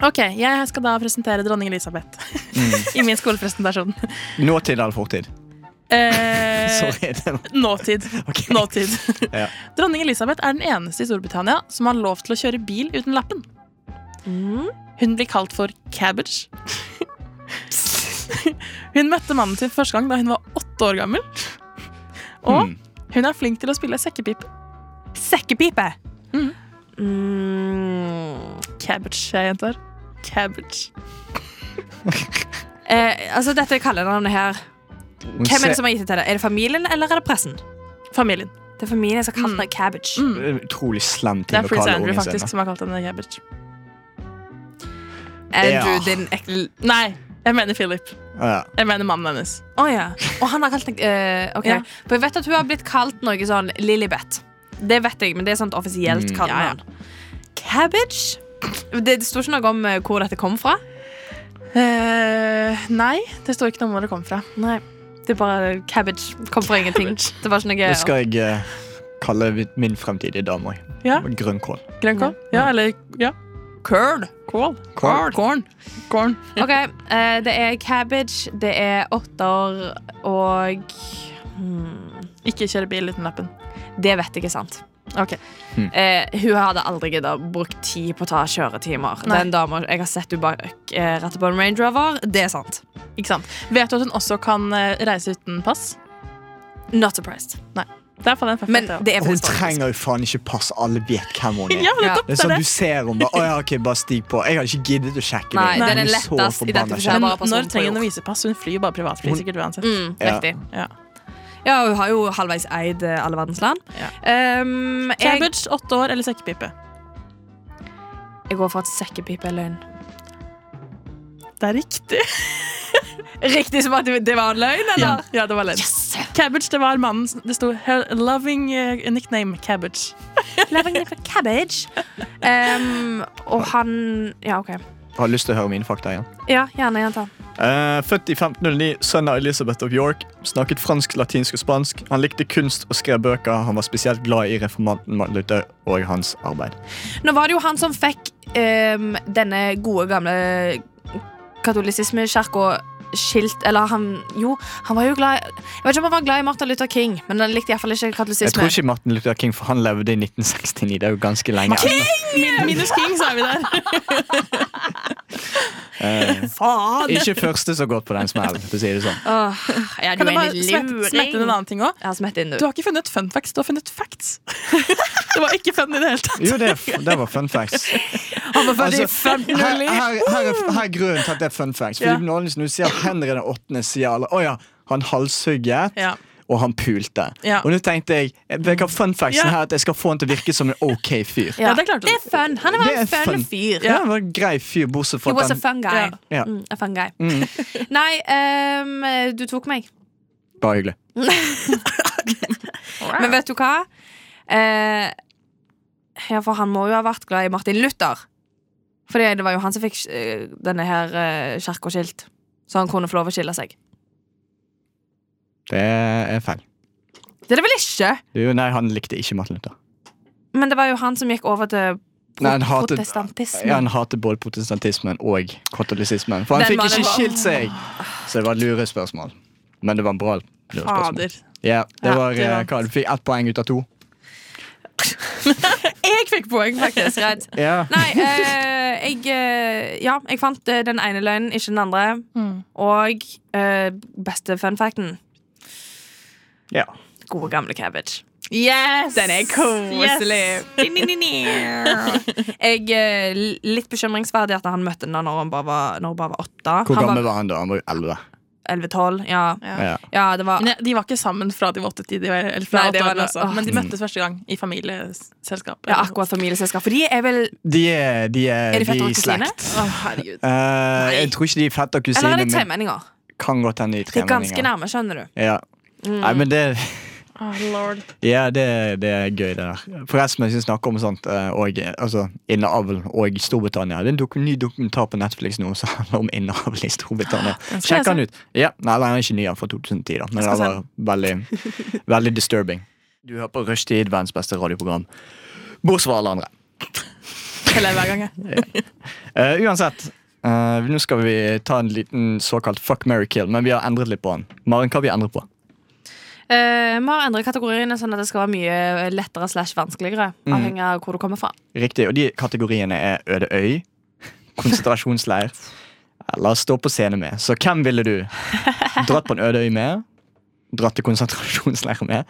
[SPEAKER 6] Ok, Jeg skal da presentere dronning Elisabeth
[SPEAKER 2] Mm.
[SPEAKER 6] i min skolepresentasjon.
[SPEAKER 2] Nåtid eller fortid?
[SPEAKER 6] Eh,
[SPEAKER 2] Sorry. det var-
[SPEAKER 6] nåtid.
[SPEAKER 2] Ok.
[SPEAKER 6] nåtid.
[SPEAKER 2] Ja.
[SPEAKER 6] Dronning Elisabeth er den eneste i Storbritannia som har lov til å kjøre bil uten lappen.
[SPEAKER 7] Mm.
[SPEAKER 6] Hun blir kalt for cabbage. Hun møtte mannen sin første gang da hun var åtte år gammel. Og
[SPEAKER 2] Mm.
[SPEAKER 6] hun er flink til å spille sekkepipe.
[SPEAKER 7] Sekkepipe. Mm.
[SPEAKER 6] Cabbage, jeg gjentar. Cabbage.
[SPEAKER 7] Eh, altså dette kallenavnet her
[SPEAKER 2] Hun
[SPEAKER 7] Hvem er det
[SPEAKER 2] ser-
[SPEAKER 7] som har gitt det til deg? Er det familien eller er det pressen?
[SPEAKER 6] Familien.
[SPEAKER 7] Det er familien som kaller det cabbage.
[SPEAKER 2] Utrolig slem
[SPEAKER 6] Mm. Det
[SPEAKER 2] ting
[SPEAKER 6] er
[SPEAKER 2] å
[SPEAKER 6] Prince
[SPEAKER 2] kalle
[SPEAKER 6] Andrew
[SPEAKER 2] ungen sin.
[SPEAKER 6] faktisk som har kalt henne cabbage.
[SPEAKER 7] Andrew,
[SPEAKER 2] Ja.
[SPEAKER 7] din ekle
[SPEAKER 6] Nei, jeg mener Philip.
[SPEAKER 2] da. Ja.
[SPEAKER 6] Jeg mener mannen hennes.
[SPEAKER 7] Å ja. Og han har kalt deg eh, Ok.
[SPEAKER 6] Ja.
[SPEAKER 7] For jeg vet at hun har blitt kalt noe sånn Lillybeth. Det vet jeg, men det er sånt offisielt
[SPEAKER 2] Mm.
[SPEAKER 7] kallenavn. Cabbage? Det, det sto ikke noe om eh, hvor dette kom fra.
[SPEAKER 6] Eh, nei, det står ikke noe om hvor det kom fra.
[SPEAKER 7] Nei. Det er bare cabbage. Kom fra ingenting. Det var ikke noe
[SPEAKER 2] Nå skal jeg eh, kalle mitt- min fremtidige dame òg.
[SPEAKER 6] Ja.
[SPEAKER 2] Grønnkål.
[SPEAKER 6] Grønnkål? Ja, eller ja. Curl. Kål.
[SPEAKER 2] Kål.
[SPEAKER 6] Korn. Korn.
[SPEAKER 7] Ok, eh, det er cabbage, det er åtter og hmm,
[SPEAKER 6] Ikke kjøre bil uten lappen.
[SPEAKER 7] Det vet jeg er sant.
[SPEAKER 6] Ok.
[SPEAKER 2] Hmm.
[SPEAKER 7] Eh, hun hadde aldri giddet å bruke tid på å ta kjøretimer.
[SPEAKER 6] Nei.
[SPEAKER 7] Den dama jeg har sett hun bak eh, rattet på en Range Rover, det er sant.
[SPEAKER 6] Ikke sant. Vet du at hun også kan eh, reise uten pass?
[SPEAKER 7] Not surprised.
[SPEAKER 6] Det er iallfall en fun
[SPEAKER 7] Men
[SPEAKER 6] fact,
[SPEAKER 7] det er
[SPEAKER 2] Hun
[SPEAKER 7] faktisk
[SPEAKER 2] trenger jo faen ikke pass. Alle vet hvem hun er.
[SPEAKER 6] Ja, men det er topp,
[SPEAKER 2] Det er
[SPEAKER 6] det er
[SPEAKER 2] sånn
[SPEAKER 6] det.
[SPEAKER 2] Du ser hun bare, «Å ja, ok, bare stig på. Jeg har ikke giddet å sjekke
[SPEAKER 7] Nei,
[SPEAKER 2] det.
[SPEAKER 7] den er
[SPEAKER 2] Hun
[SPEAKER 7] lettest
[SPEAKER 2] så forbanna
[SPEAKER 7] identifiserbar.
[SPEAKER 2] kjekk.
[SPEAKER 7] bare personen
[SPEAKER 6] Når
[SPEAKER 7] på
[SPEAKER 6] trenger hun
[SPEAKER 7] jord.
[SPEAKER 6] å vise pass? Hun flyr jo bare privatfly, sikkert uansett.
[SPEAKER 7] Mm,
[SPEAKER 2] Ja.
[SPEAKER 7] riktig.
[SPEAKER 6] Ja.
[SPEAKER 7] Ja, hun har jo halvveis eid eh, alle verdens land.
[SPEAKER 6] Ja.
[SPEAKER 7] Um, jeg,
[SPEAKER 6] Cabbage, åtte år, eller sekkepipe?
[SPEAKER 7] jeg går for at sekkepipe er løgn.
[SPEAKER 6] Det er riktig.
[SPEAKER 7] Riktig som at det det var en løgn,
[SPEAKER 6] Ja,
[SPEAKER 7] eller?
[SPEAKER 6] ja det var ledd.
[SPEAKER 7] Yes!
[SPEAKER 6] Cabbage, det var mannen som- Det sto her, 'loving eh, nickname cabbage'.
[SPEAKER 7] Loving it with cabbage. Um, og han Ja, OK.
[SPEAKER 2] Har lyst til å høre mine fakta igjen.
[SPEAKER 7] Ja, gjerne gjenta.
[SPEAKER 2] Eh, født i 1509, sønn av Elizabeth of York. Snakket fransk, latinsk og spansk. Han likte kunst og skrev bøker. Han var spesielt glad i reformanten Martin Luther og hans arbeid.
[SPEAKER 7] Nå var det jo han som fikk um, denne gode, gamle katolisismekirka skilt Eller han Jo, han var jo glad i- Jeg vet ikke om han var glad i Martin Luther King, men han likte iallfall ikke
[SPEAKER 2] Jeg tror
[SPEAKER 7] katolisisme.
[SPEAKER 2] ikke Martin Luther King, for han levde i 1969. Det er jo ganske lenge. etter.
[SPEAKER 6] Min, minus King, så er vi der.
[SPEAKER 2] Eh, ikke første som har gått på den smellen, for å si det sånn.
[SPEAKER 7] Åh, ja, du
[SPEAKER 6] Kan
[SPEAKER 7] er
[SPEAKER 6] jeg bare
[SPEAKER 7] en
[SPEAKER 6] smette, smette inn en
[SPEAKER 7] luring.
[SPEAKER 6] annen ting òg?
[SPEAKER 7] Ja, smett inn,
[SPEAKER 6] Du
[SPEAKER 7] du.
[SPEAKER 6] har ikke funnet fun facts, du har funnet facts. det var ikke fun i det hele tatt.
[SPEAKER 2] Jo, det, er- det var fun facts. Altså, her, her, her, er, her er grunnen til at det er fun facts. Fordi
[SPEAKER 6] Ja.
[SPEAKER 2] når du sier at Henry den åttende sier alle Å ja, han halshugget
[SPEAKER 6] Ja.
[SPEAKER 2] og han pulte.
[SPEAKER 6] Ja.
[SPEAKER 2] Og nå tenkte jeg jeg har fun factsen
[SPEAKER 6] Ja.
[SPEAKER 2] her at jeg skal få han til å virke som en ok fyr.
[SPEAKER 6] Ja, det klarte du.
[SPEAKER 7] det er fun. Han var
[SPEAKER 2] Det er
[SPEAKER 7] en fun,
[SPEAKER 2] fun.
[SPEAKER 7] fyr.
[SPEAKER 2] Ja, han var en grei fyr, bortsett
[SPEAKER 7] He
[SPEAKER 2] fra
[SPEAKER 7] was
[SPEAKER 2] at
[SPEAKER 7] a
[SPEAKER 2] han
[SPEAKER 7] fun guy.
[SPEAKER 6] Ja.
[SPEAKER 2] Ja.
[SPEAKER 7] Mm, a fun guy. Nei, ehm, du tok meg.
[SPEAKER 2] Bare hyggelig. Ah.
[SPEAKER 7] Men vet du hva? Eh, ja, for han må jo ha vært glad i Martin Luther. Fordi det var jo han som fikk eh, denne her eh, kirka skilt. Så han kunne få lov å skille seg.
[SPEAKER 2] Det er feil.
[SPEAKER 7] Det er det vel ikke?
[SPEAKER 2] Det er jo, nei, han likte ikke Martin Luther.
[SPEAKER 7] Men det var jo han som gikk over til pro
[SPEAKER 2] Nei, han hatet-
[SPEAKER 7] protestantisme.
[SPEAKER 2] Ja, han hatet både protestantismen og katolisismen. For han
[SPEAKER 7] Den
[SPEAKER 2] fikk
[SPEAKER 7] mannen
[SPEAKER 2] ikke
[SPEAKER 7] var-
[SPEAKER 2] skilt seg! Så det var et lurespørsmål. Men det var en bra lurespørsmål.
[SPEAKER 6] Fader.
[SPEAKER 2] Ja, det
[SPEAKER 6] Ja,
[SPEAKER 2] var,
[SPEAKER 6] det
[SPEAKER 2] eh,
[SPEAKER 6] var-
[SPEAKER 2] hva, Du fikk ett poeng ut av to.
[SPEAKER 7] jeg fikk poeng, faktisk. Greit.
[SPEAKER 2] Ja.
[SPEAKER 7] Nei, eh, jeg eh, Ja, jeg fant eh, den ene løgnen, ikke den andre. Og eh, beste fun facten
[SPEAKER 2] Ja.
[SPEAKER 7] gode gamle cabbage.
[SPEAKER 6] Yes!
[SPEAKER 7] Den er koselig. jeg er litt bekymringsverdig at han møtte henne når han bare var, når hun bare var åtte.
[SPEAKER 2] Hvor
[SPEAKER 7] han
[SPEAKER 2] gammel
[SPEAKER 7] var
[SPEAKER 2] var han da? Han var jo 11.
[SPEAKER 7] 11-12. Ja. ja.
[SPEAKER 2] Ja.
[SPEAKER 7] det var
[SPEAKER 6] Men de var ikke sammen fra de var åtte til de var eller fra
[SPEAKER 7] Nei, det
[SPEAKER 6] åtte
[SPEAKER 7] var
[SPEAKER 6] år,
[SPEAKER 7] noe-
[SPEAKER 6] altså.
[SPEAKER 7] åh.
[SPEAKER 6] Men de møttes første gang i familieselskap.
[SPEAKER 7] ja, akkurat familieselskap. For de er vel
[SPEAKER 2] De er, de er,
[SPEAKER 7] Er de føtter
[SPEAKER 2] i
[SPEAKER 7] og kusine?
[SPEAKER 2] slekt.
[SPEAKER 6] Å, herregud.
[SPEAKER 2] Eh, jeg tror ikke de er fett og kusine,
[SPEAKER 7] Eller er det
[SPEAKER 2] men
[SPEAKER 7] tremenninger?
[SPEAKER 2] kan godt hende de
[SPEAKER 7] Det er ganske
[SPEAKER 2] tremenninger.
[SPEAKER 7] nærme, skjønner du.
[SPEAKER 2] Ja. Nei, men det,
[SPEAKER 6] Å, lord.
[SPEAKER 2] ja, det, det er gøy, det der. Forresten, hvis vi snakker om sånt, eh, og, altså, inneavl og Storbritannia Det er en dok ny dokumentar på Netflix nå som handler om inneavl i Storbritannia.
[SPEAKER 6] jeg
[SPEAKER 2] Sjekk den ut. Ja, nei, den er ikke ny, den er fra 2010, da. men den var veldig, veldig disturbing. Du hører på Rushtid, verdens beste radioprogram. Bortsett fra alle andre.
[SPEAKER 6] Eller hver gang, jeg.
[SPEAKER 2] Eh, uansett, eh, nå skal vi ta en liten såkalt fuck, marry, kill, men vi har endret litt på den. Maren, hva har vi endret på?
[SPEAKER 7] Eh, vi har endret kategoriene sånn at det skal være mye lettere slash vanskeligere.
[SPEAKER 2] Mm.
[SPEAKER 7] Avhengig av hvor du kommer fra.
[SPEAKER 2] Riktig, og de kategoriene er øde øy, konsentrasjonsleir, eller stå på scene med. Så hvem ville du dratt på en øde øy med? Dratt til konsentrasjonsleir med?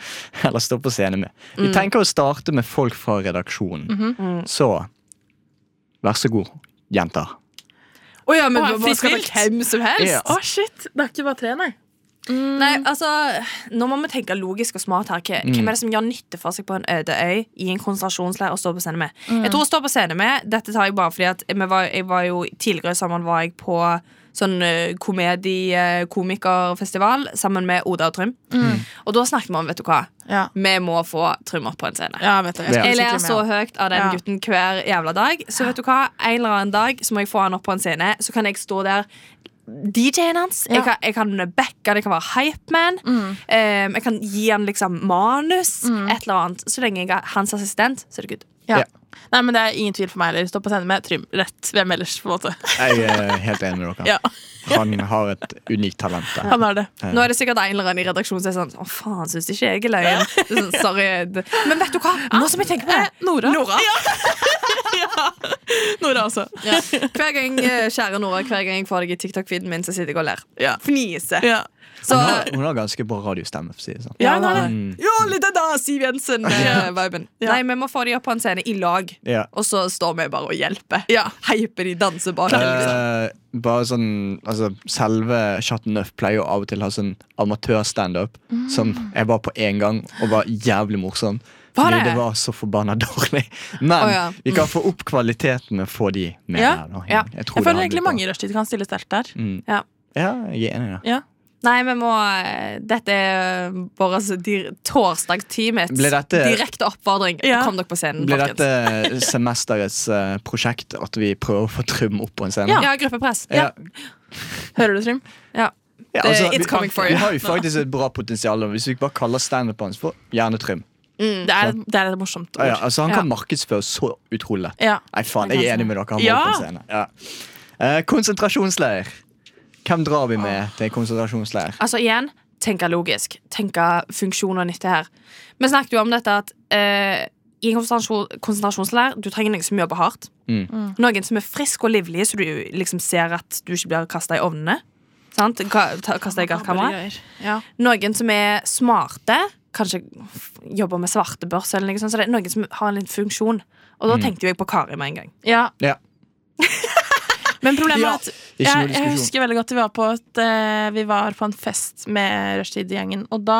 [SPEAKER 2] Eller stå på scene med?
[SPEAKER 6] Mm.
[SPEAKER 2] Vi tenker å starte med folk fra redaksjonen.
[SPEAKER 6] Mhm.
[SPEAKER 2] Så vær så god, jenter.
[SPEAKER 7] Å ja, men
[SPEAKER 6] Å,
[SPEAKER 7] hva skal
[SPEAKER 6] fritt
[SPEAKER 7] det være hvem som helst?
[SPEAKER 2] Ja.
[SPEAKER 6] Å, shit! Det er ikke bare tre, nei.
[SPEAKER 7] Nei, altså, Nå må vi tenke logisk og smart her. Hva- Hvem er det som gjør nytte for seg på en øde øy i en konsentrasjonsleir og står på scene med?
[SPEAKER 6] Mm.
[SPEAKER 7] Jeg tror å stå på scene med Dette tar jeg bare fordi at vi var, jeg var jo tidligere sammen var jeg på sånn eh, komedie- eh, komikerfestival sammen med Oda og Trym. Og da snakket vi om, vet du hva,
[SPEAKER 6] Mm. Ja.
[SPEAKER 7] vi må få Trym opp på en scene.
[SPEAKER 6] Ja, vet du, jeg,
[SPEAKER 7] Jeg
[SPEAKER 6] skulle
[SPEAKER 7] ler
[SPEAKER 6] skikkelig
[SPEAKER 7] så
[SPEAKER 6] med.
[SPEAKER 7] høyt av den
[SPEAKER 6] Ja.
[SPEAKER 7] gutten hver jævla dag. Så vet du hva, en eller annen dag så må jeg få han opp på en scene. Så kan jeg stå der. DJ-en hans. Jeg, kan, jeg kan backe han, jeg kan være hypeman. Um, jeg kan gi han liksom manus. Et eller annet. Så lenge jeg er hans assistent, så er det good.
[SPEAKER 6] Ja.
[SPEAKER 2] Ja.
[SPEAKER 6] Nei, men Det er ingen tvil for meg heller. Stå på scenen med Trym. Rett. Hvem ellers, på en måte.
[SPEAKER 2] Jeg er helt enig med dere.
[SPEAKER 6] Ja,
[SPEAKER 2] Han har et unikt talent der.
[SPEAKER 6] han har det.
[SPEAKER 7] Nå er det sikkert en eller annen i redaksjonen som er sånn Å, faen, syns ikke jeg er løyen. Det er Sånn, Sorry. Men vet du hva? Nå som jeg tenker på det.
[SPEAKER 6] Eh, Nora.
[SPEAKER 7] Nora.
[SPEAKER 6] Nora altså. også.
[SPEAKER 7] Hver gang, eh, kjære Nora, hver gang jeg får deg i TikTok-feeden min, så sitter jeg og ler.
[SPEAKER 6] Ja.
[SPEAKER 7] Fniser.
[SPEAKER 6] Ja.
[SPEAKER 7] Så
[SPEAKER 2] Hun har, hun har ganske bra radiostemme, for å si det sånn.
[SPEAKER 7] Ja,
[SPEAKER 6] han har det.
[SPEAKER 7] Ja, litt den der Siv eh, Jensen-viben. Mm. Nei, vi må få de opp på en scene i lag,
[SPEAKER 2] Ja.
[SPEAKER 7] og så står vi bare og hjelper. Ja. Heiper de danser bak. liksom.
[SPEAKER 2] Eh, bare sånn, altså Selve Chatten Nøff pleier jo av og til å ha sånn amatørstandup som jeg var på én gang og var jævlig morsom.
[SPEAKER 7] Mm. Var
[SPEAKER 2] fordi
[SPEAKER 7] det?
[SPEAKER 2] det var så forbanna dårlig. Men
[SPEAKER 7] Å, ja.
[SPEAKER 2] vi kan få opp kvaliteten med å få de med.
[SPEAKER 6] Ja,
[SPEAKER 2] her nå.
[SPEAKER 7] ja.
[SPEAKER 2] Jeg, tror
[SPEAKER 6] Jeg
[SPEAKER 2] det
[SPEAKER 6] føler
[SPEAKER 2] hadde
[SPEAKER 6] egentlig
[SPEAKER 2] blitt bra.
[SPEAKER 6] mange i rushtid kan stille sterkt der.
[SPEAKER 2] Mm.
[SPEAKER 7] Ja.
[SPEAKER 2] ja, jeg er enig i det.
[SPEAKER 7] Nei, vi må eh, Dette er vår torsdagsteamets
[SPEAKER 2] Ble dette-
[SPEAKER 7] direkte oppfordring.
[SPEAKER 6] Ja.
[SPEAKER 7] Kom dere på scenen,
[SPEAKER 2] Blir
[SPEAKER 7] folkens.
[SPEAKER 2] dette semesterets eh, prosjekt at vi prøver å få Trym opp på en scene?
[SPEAKER 7] Ja, gruppepress.
[SPEAKER 2] Ja.
[SPEAKER 7] Ja.
[SPEAKER 6] Hører du, Trym?
[SPEAKER 2] Ja,
[SPEAKER 7] Det-
[SPEAKER 2] altså,
[SPEAKER 7] it's
[SPEAKER 2] vi,
[SPEAKER 7] coming for
[SPEAKER 2] vi
[SPEAKER 7] you.
[SPEAKER 2] har jo faktisk et bra potensial. og Hvis vi bare kaller standupen hans for Hjernetrym.
[SPEAKER 6] Det, er, det er et morsomt
[SPEAKER 2] Ja,
[SPEAKER 6] ord.
[SPEAKER 2] ja, altså, han
[SPEAKER 7] Ja.
[SPEAKER 2] kan markedsføre så utrolig lett.
[SPEAKER 6] Ja.
[SPEAKER 2] Nei, faen, jeg er enig med dere. Han må
[SPEAKER 6] Ja.
[SPEAKER 2] opp på en scene. Ja. Eh, konsentrasjonsleir. Hvem drar vi
[SPEAKER 6] Ah.
[SPEAKER 2] med til konsentrasjonsleir?
[SPEAKER 7] Altså igjen, tenke logisk. Tenke funksjon og nytte her. Vi snakket jo om dette at eh, i en konsentrasjon, konsentrasjonsleir du trenger noen som jobber hardt.
[SPEAKER 2] Mm.
[SPEAKER 7] Noen som er frisk og livlig, så du liksom ser at du ikke blir kasta i ovnene. Sant? Ka- ta- Kastet i gasskamera. Noen som er smarte, kanskje f- jobber med svartebørs eller noe sånt. Så det er noen som har en liten funksjon. Og da tenkte jo jeg på Kari med en gang.
[SPEAKER 6] Ja.
[SPEAKER 2] Ja.
[SPEAKER 6] Men problemet
[SPEAKER 2] Ja.
[SPEAKER 6] er at
[SPEAKER 2] Ikke noe
[SPEAKER 6] jeg, jeg
[SPEAKER 2] diskusjon.
[SPEAKER 6] husker veldig godt vi var på, et, eh, vi var på en fest med rushtid-gjengen. Og da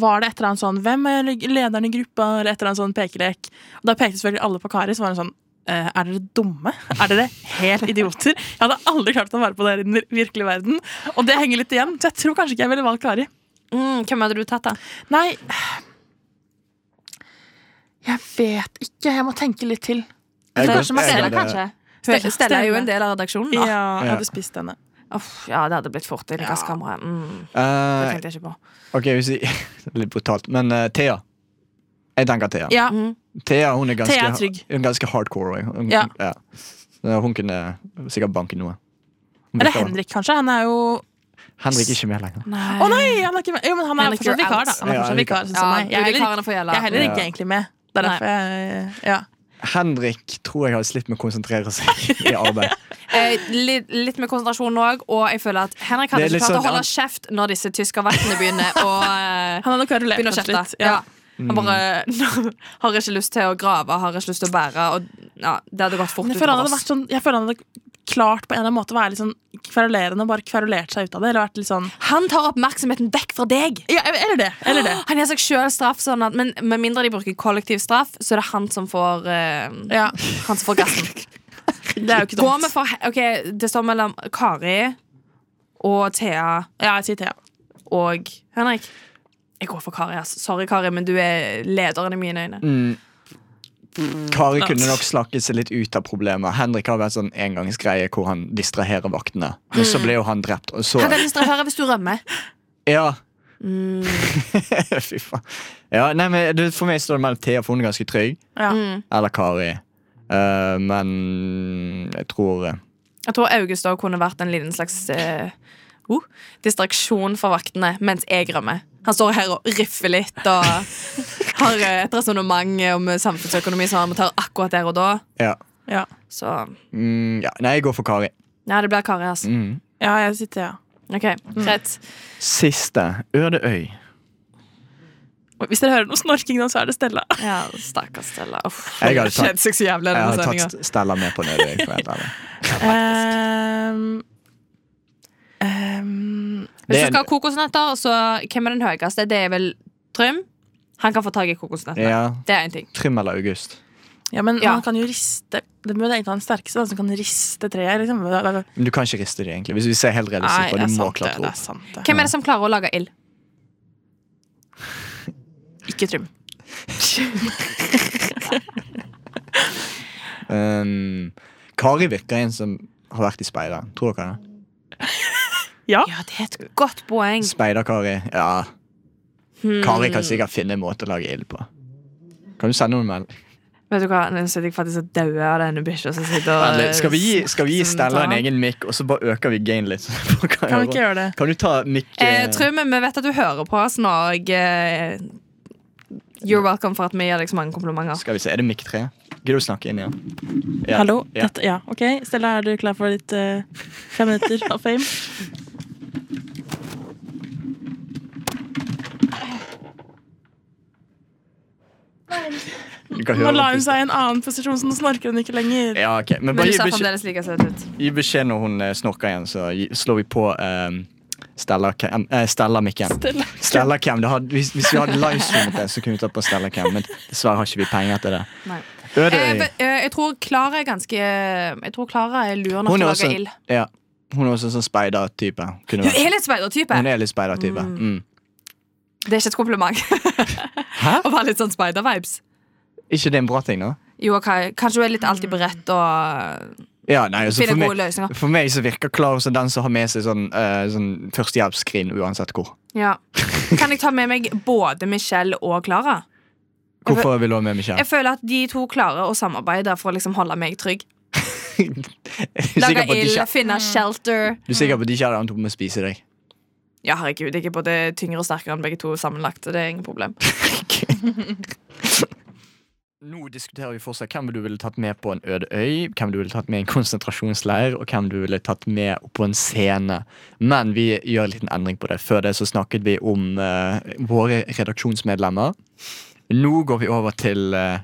[SPEAKER 6] var det et eller annet sånn Hvem er lederen i gruppa? Eller et eller annet sånn pekelek. Og da pekte selvfølgelig alle på Kari. Så var hun sånn «Eh, Er dere dumme? Er dere helt idioter? Jeg hadde aldri klart å ta vare på dere i den virkelige verden. Og det henger litt igjen. Så jeg tror kanskje ikke jeg ville valgt Kari.
[SPEAKER 7] Mm, hvem hadde du tatt, da?
[SPEAKER 6] Nei Jeg vet ikke. Jeg må tenke litt til.
[SPEAKER 2] Jeg
[SPEAKER 6] Kanskje
[SPEAKER 2] går- jeg
[SPEAKER 6] Marcela,
[SPEAKER 2] går-
[SPEAKER 7] Stella, Stella er jo
[SPEAKER 6] Stella.
[SPEAKER 7] en del av redaksjonen.
[SPEAKER 6] Ja,
[SPEAKER 7] da.
[SPEAKER 6] jeg hadde spist henne.
[SPEAKER 7] Uff, ja det hadde blitt fort i gasskameraet. Mm, det
[SPEAKER 2] Eh,
[SPEAKER 7] tenkte jeg ikke på.
[SPEAKER 2] ok, hvis vi det er Litt brutalt, men eh, Thea. Jeg tenker Thea.
[SPEAKER 6] Ja.
[SPEAKER 2] Thea hun er ganske,
[SPEAKER 6] Thea er trygg.
[SPEAKER 2] Hun er ganske hardcore. også. Hun,
[SPEAKER 6] Ja.
[SPEAKER 2] ja. Så Hun kunne sikkert banke noe. Hun
[SPEAKER 6] Eller
[SPEAKER 2] virker-
[SPEAKER 6] Henrik, kanskje. Han er jo
[SPEAKER 2] Henrik er ikke med lenger.
[SPEAKER 6] Å nei! Han Eh, er ikke med. Jo, men han er
[SPEAKER 7] Henrik,
[SPEAKER 6] fortsatt
[SPEAKER 7] you're
[SPEAKER 6] vikar, da.
[SPEAKER 7] out.
[SPEAKER 6] Han er
[SPEAKER 2] Ja,
[SPEAKER 6] fortsatt
[SPEAKER 2] vikar.
[SPEAKER 6] vikar, sånn som meg. Jeg er heller,
[SPEAKER 7] får gjelde.
[SPEAKER 6] jeg er heller
[SPEAKER 2] Ja.
[SPEAKER 6] ikke egentlig med. Det er derfor jeg Ja.
[SPEAKER 2] Henrik tror jeg har slitt med å konsentrere seg i arbeid.
[SPEAKER 7] Eh, litt, litt med konsentrasjon òg, og jeg føler at Henrik hadde
[SPEAKER 2] Det er
[SPEAKER 7] ikke
[SPEAKER 2] litt
[SPEAKER 7] klart å
[SPEAKER 2] sånn-
[SPEAKER 7] holde kjeft når disse tyskervaktene begynner å eh,
[SPEAKER 6] Han har nok karulert
[SPEAKER 7] begynner å
[SPEAKER 6] kanskje
[SPEAKER 7] kjefte.
[SPEAKER 6] litt.
[SPEAKER 7] Ja. Han bare har ikke lyst til å grave, har ikke lyst til å bære. Og, ja, det hadde gått fort
[SPEAKER 6] Men Jeg føler, han
[SPEAKER 7] utover
[SPEAKER 6] hadde
[SPEAKER 7] oss.
[SPEAKER 6] vært sånn, jeg føler han hadde klart på en eller annen måte å være litt sånn kverulerende og bare kverulert seg ut av det. Eller vært litt sånn
[SPEAKER 7] Han tar oppmerksomheten vekk fra deg.
[SPEAKER 6] Ja, eller det. Eller det.
[SPEAKER 7] Han gir seg sjøl straff, sånn at, men med mindre de bruker kollektiv straff, så er det han som får, eh,
[SPEAKER 6] Ja,
[SPEAKER 7] han som får gassen.
[SPEAKER 6] det er jo ikke
[SPEAKER 7] Går vi
[SPEAKER 6] dumt.
[SPEAKER 7] for Ok, det står mellom Kari og Thea
[SPEAKER 6] Ja, jeg sier Thea.
[SPEAKER 7] og Henrik. Jeg går for Kari. ass. Sorry, Kari, men du er lederen i mine øyne.
[SPEAKER 2] Mm. Kari kunne nok slakket seg litt ut av problemet. Henrik har vært sånn engangsgreie hvor han distraherer vaktene. Men så ble jo han drept, og så
[SPEAKER 7] Hva kan jeg distrahere hvis du rømmer?
[SPEAKER 2] Ja. Fy faen. Ja, nei, men du, for meg står det mellom Thea, for hun er ganske trygg,
[SPEAKER 6] Ja.
[SPEAKER 2] eller Kari. Eh, men jeg tror eh,
[SPEAKER 7] Jeg tror August også kunne vært en liten slags eh, oh, distraksjon for vaktene mens jeg rømmer. Han står her og riffer litt og har eh, et resonnement om eh, samfunnsøkonomi som han må ta akkurat der og da.
[SPEAKER 2] Ja.
[SPEAKER 6] Ja,
[SPEAKER 7] Så
[SPEAKER 2] Mm, ja. Nei, jeg går for Kari.
[SPEAKER 7] ja, det blir Kari, ass.
[SPEAKER 2] Mm.
[SPEAKER 6] ja jeg sier Thea.
[SPEAKER 7] Ok, greit.
[SPEAKER 2] Siste. Ødeøy.
[SPEAKER 6] Og Hvis dere hører noe snorking nå, så er det Stella.
[SPEAKER 7] Ja, stakkars Stella. Uff.
[SPEAKER 2] Jeg hadde tatt,
[SPEAKER 6] seg så jævlig
[SPEAKER 2] jeg hadde tatt Stella med på en ødeøy. for å være helt ærlig.
[SPEAKER 6] Ehm,
[SPEAKER 7] Hvis
[SPEAKER 2] Det
[SPEAKER 7] du
[SPEAKER 2] er-
[SPEAKER 7] skal ha kokosnøtter, så hvem er den høyeste? Det er vel Trym. Han kan få tak i kokosnøtter.
[SPEAKER 2] Ja,
[SPEAKER 7] Det er én ting.
[SPEAKER 2] Trym eller August.
[SPEAKER 6] Ja, men
[SPEAKER 7] Ja.
[SPEAKER 6] man kan jo riste Det burde egentlig ha den sterkeste, den som kan riste treet. Liksom. Hva- hva- hva-
[SPEAKER 2] Men du kan ikke riste de, egentlig. Hvis vi ser helt realistisk på
[SPEAKER 6] det
[SPEAKER 2] det,
[SPEAKER 6] er
[SPEAKER 2] du må
[SPEAKER 6] sant, det.
[SPEAKER 2] klatre
[SPEAKER 6] det er
[SPEAKER 2] opp.
[SPEAKER 6] sant det.
[SPEAKER 7] Hvem er det som klarer å lage ild?
[SPEAKER 6] Ikke Trym.
[SPEAKER 2] Um, Kari virker en som har vært i speideren. Tror dere det?
[SPEAKER 7] Ja, det er et godt poeng. Hmm.
[SPEAKER 2] Speider-Kari. Ja. Kari kan sikkert finne en måte å lage ild på. Kan du sende noen melding?
[SPEAKER 7] Vet du hva, Nå sitter jeg faktisk og dauer av denne bikkja som sitter og
[SPEAKER 2] Skal vi gi, skal vi gi
[SPEAKER 7] snakker
[SPEAKER 2] Stella en
[SPEAKER 7] Eh, sånn.
[SPEAKER 2] egen mic, og så bare øker vi gain litt? så folk kan
[SPEAKER 6] Kan
[SPEAKER 2] høre?
[SPEAKER 6] vi ikke gjøre det?
[SPEAKER 2] Kan du ta mic
[SPEAKER 7] Eh,
[SPEAKER 2] eh,
[SPEAKER 7] Trym, vi vet at du hører på oss nå. Og, eh, you're welcome for at vi gir deg så mange komplimenter.
[SPEAKER 2] Skal vi se, Er det mic 3? Gidder du å snakke inn igjen? Ja.
[SPEAKER 6] Hallo?
[SPEAKER 2] Ja.
[SPEAKER 6] Dette, ja, ok. Stella, er du klar for ditt eh, fem minutter av fame?
[SPEAKER 2] Du kan
[SPEAKER 6] Nå
[SPEAKER 2] høre
[SPEAKER 6] la
[SPEAKER 2] det.
[SPEAKER 6] hun seg i en annen posisjon, så nå snorker hun ikke lenger.
[SPEAKER 2] Ja, ok. Men
[SPEAKER 7] Men
[SPEAKER 2] bare
[SPEAKER 7] du
[SPEAKER 2] gi
[SPEAKER 7] ser
[SPEAKER 2] beskjed,
[SPEAKER 7] fremdeles like søt ut.
[SPEAKER 2] gi beskjed når hun eh, snorker igjen, så gi- slår vi på eh, Stella Cam eh, Stella Mikken. Stella Cam. Det hadde, hvis, hvis vi hadde livestreamet det, så kunne vi tatt på Stella Cam, men dessverre har ikke vi penger til det.
[SPEAKER 7] Nei. Eh,
[SPEAKER 2] Ødøy.
[SPEAKER 7] men, eh, jeg tror Klara er ganske Jeg tror Klara er lur nok
[SPEAKER 2] Hun er
[SPEAKER 7] til å
[SPEAKER 2] også,
[SPEAKER 7] lage ild.
[SPEAKER 2] ja, hun er også en sånn speidertype. Kunne
[SPEAKER 7] Hun
[SPEAKER 2] vært-
[SPEAKER 7] er litt speidertype.
[SPEAKER 2] Hun er litt speidertype. Mm.
[SPEAKER 7] Det er ikke et kompliment.
[SPEAKER 2] Hæ?
[SPEAKER 7] Å være litt sånn speider-vibes.
[SPEAKER 2] Ikke det en bra ting, da?
[SPEAKER 7] Jo, ok, Kanskje hun er litt alltid
[SPEAKER 6] Mm.
[SPEAKER 7] beredt og
[SPEAKER 2] Ja, nei, altså,
[SPEAKER 7] finner
[SPEAKER 2] for,
[SPEAKER 7] gode
[SPEAKER 2] meg,
[SPEAKER 7] løsninger.
[SPEAKER 2] for meg så virker Klara som den som har med seg sånn, eh, sånn førstehjelpsskrin uansett hvor.
[SPEAKER 7] Ja. Kan jeg ta med meg både Michelle og Klara?
[SPEAKER 2] Hvorfor vil du ha med Michelle?
[SPEAKER 7] Jeg føler at de to klarer å samarbeide for å liksom holde meg trygg.
[SPEAKER 2] Du er
[SPEAKER 7] Lage
[SPEAKER 2] sikker på at de
[SPEAKER 7] ild,
[SPEAKER 2] ikke-
[SPEAKER 7] finne
[SPEAKER 6] Mm.
[SPEAKER 7] shelter.
[SPEAKER 2] du er sikker på at de ikke hadde endt opp med å spise deg?
[SPEAKER 7] Ja, herregud, jeg er både tyngre og sterkere enn begge to sammenlagt. så Det er ingen problem.
[SPEAKER 2] Nå diskuterer vi fortsatt hvem du ville tatt med på en øde øy, hvem du ville tatt med i en konsentrasjonsleir, og hvem du ville tatt med på en scene. Men vi gjør en liten endring på det. Før det så snakket vi om eh, våre redaksjonsmedlemmer. Nå går vi over til eh,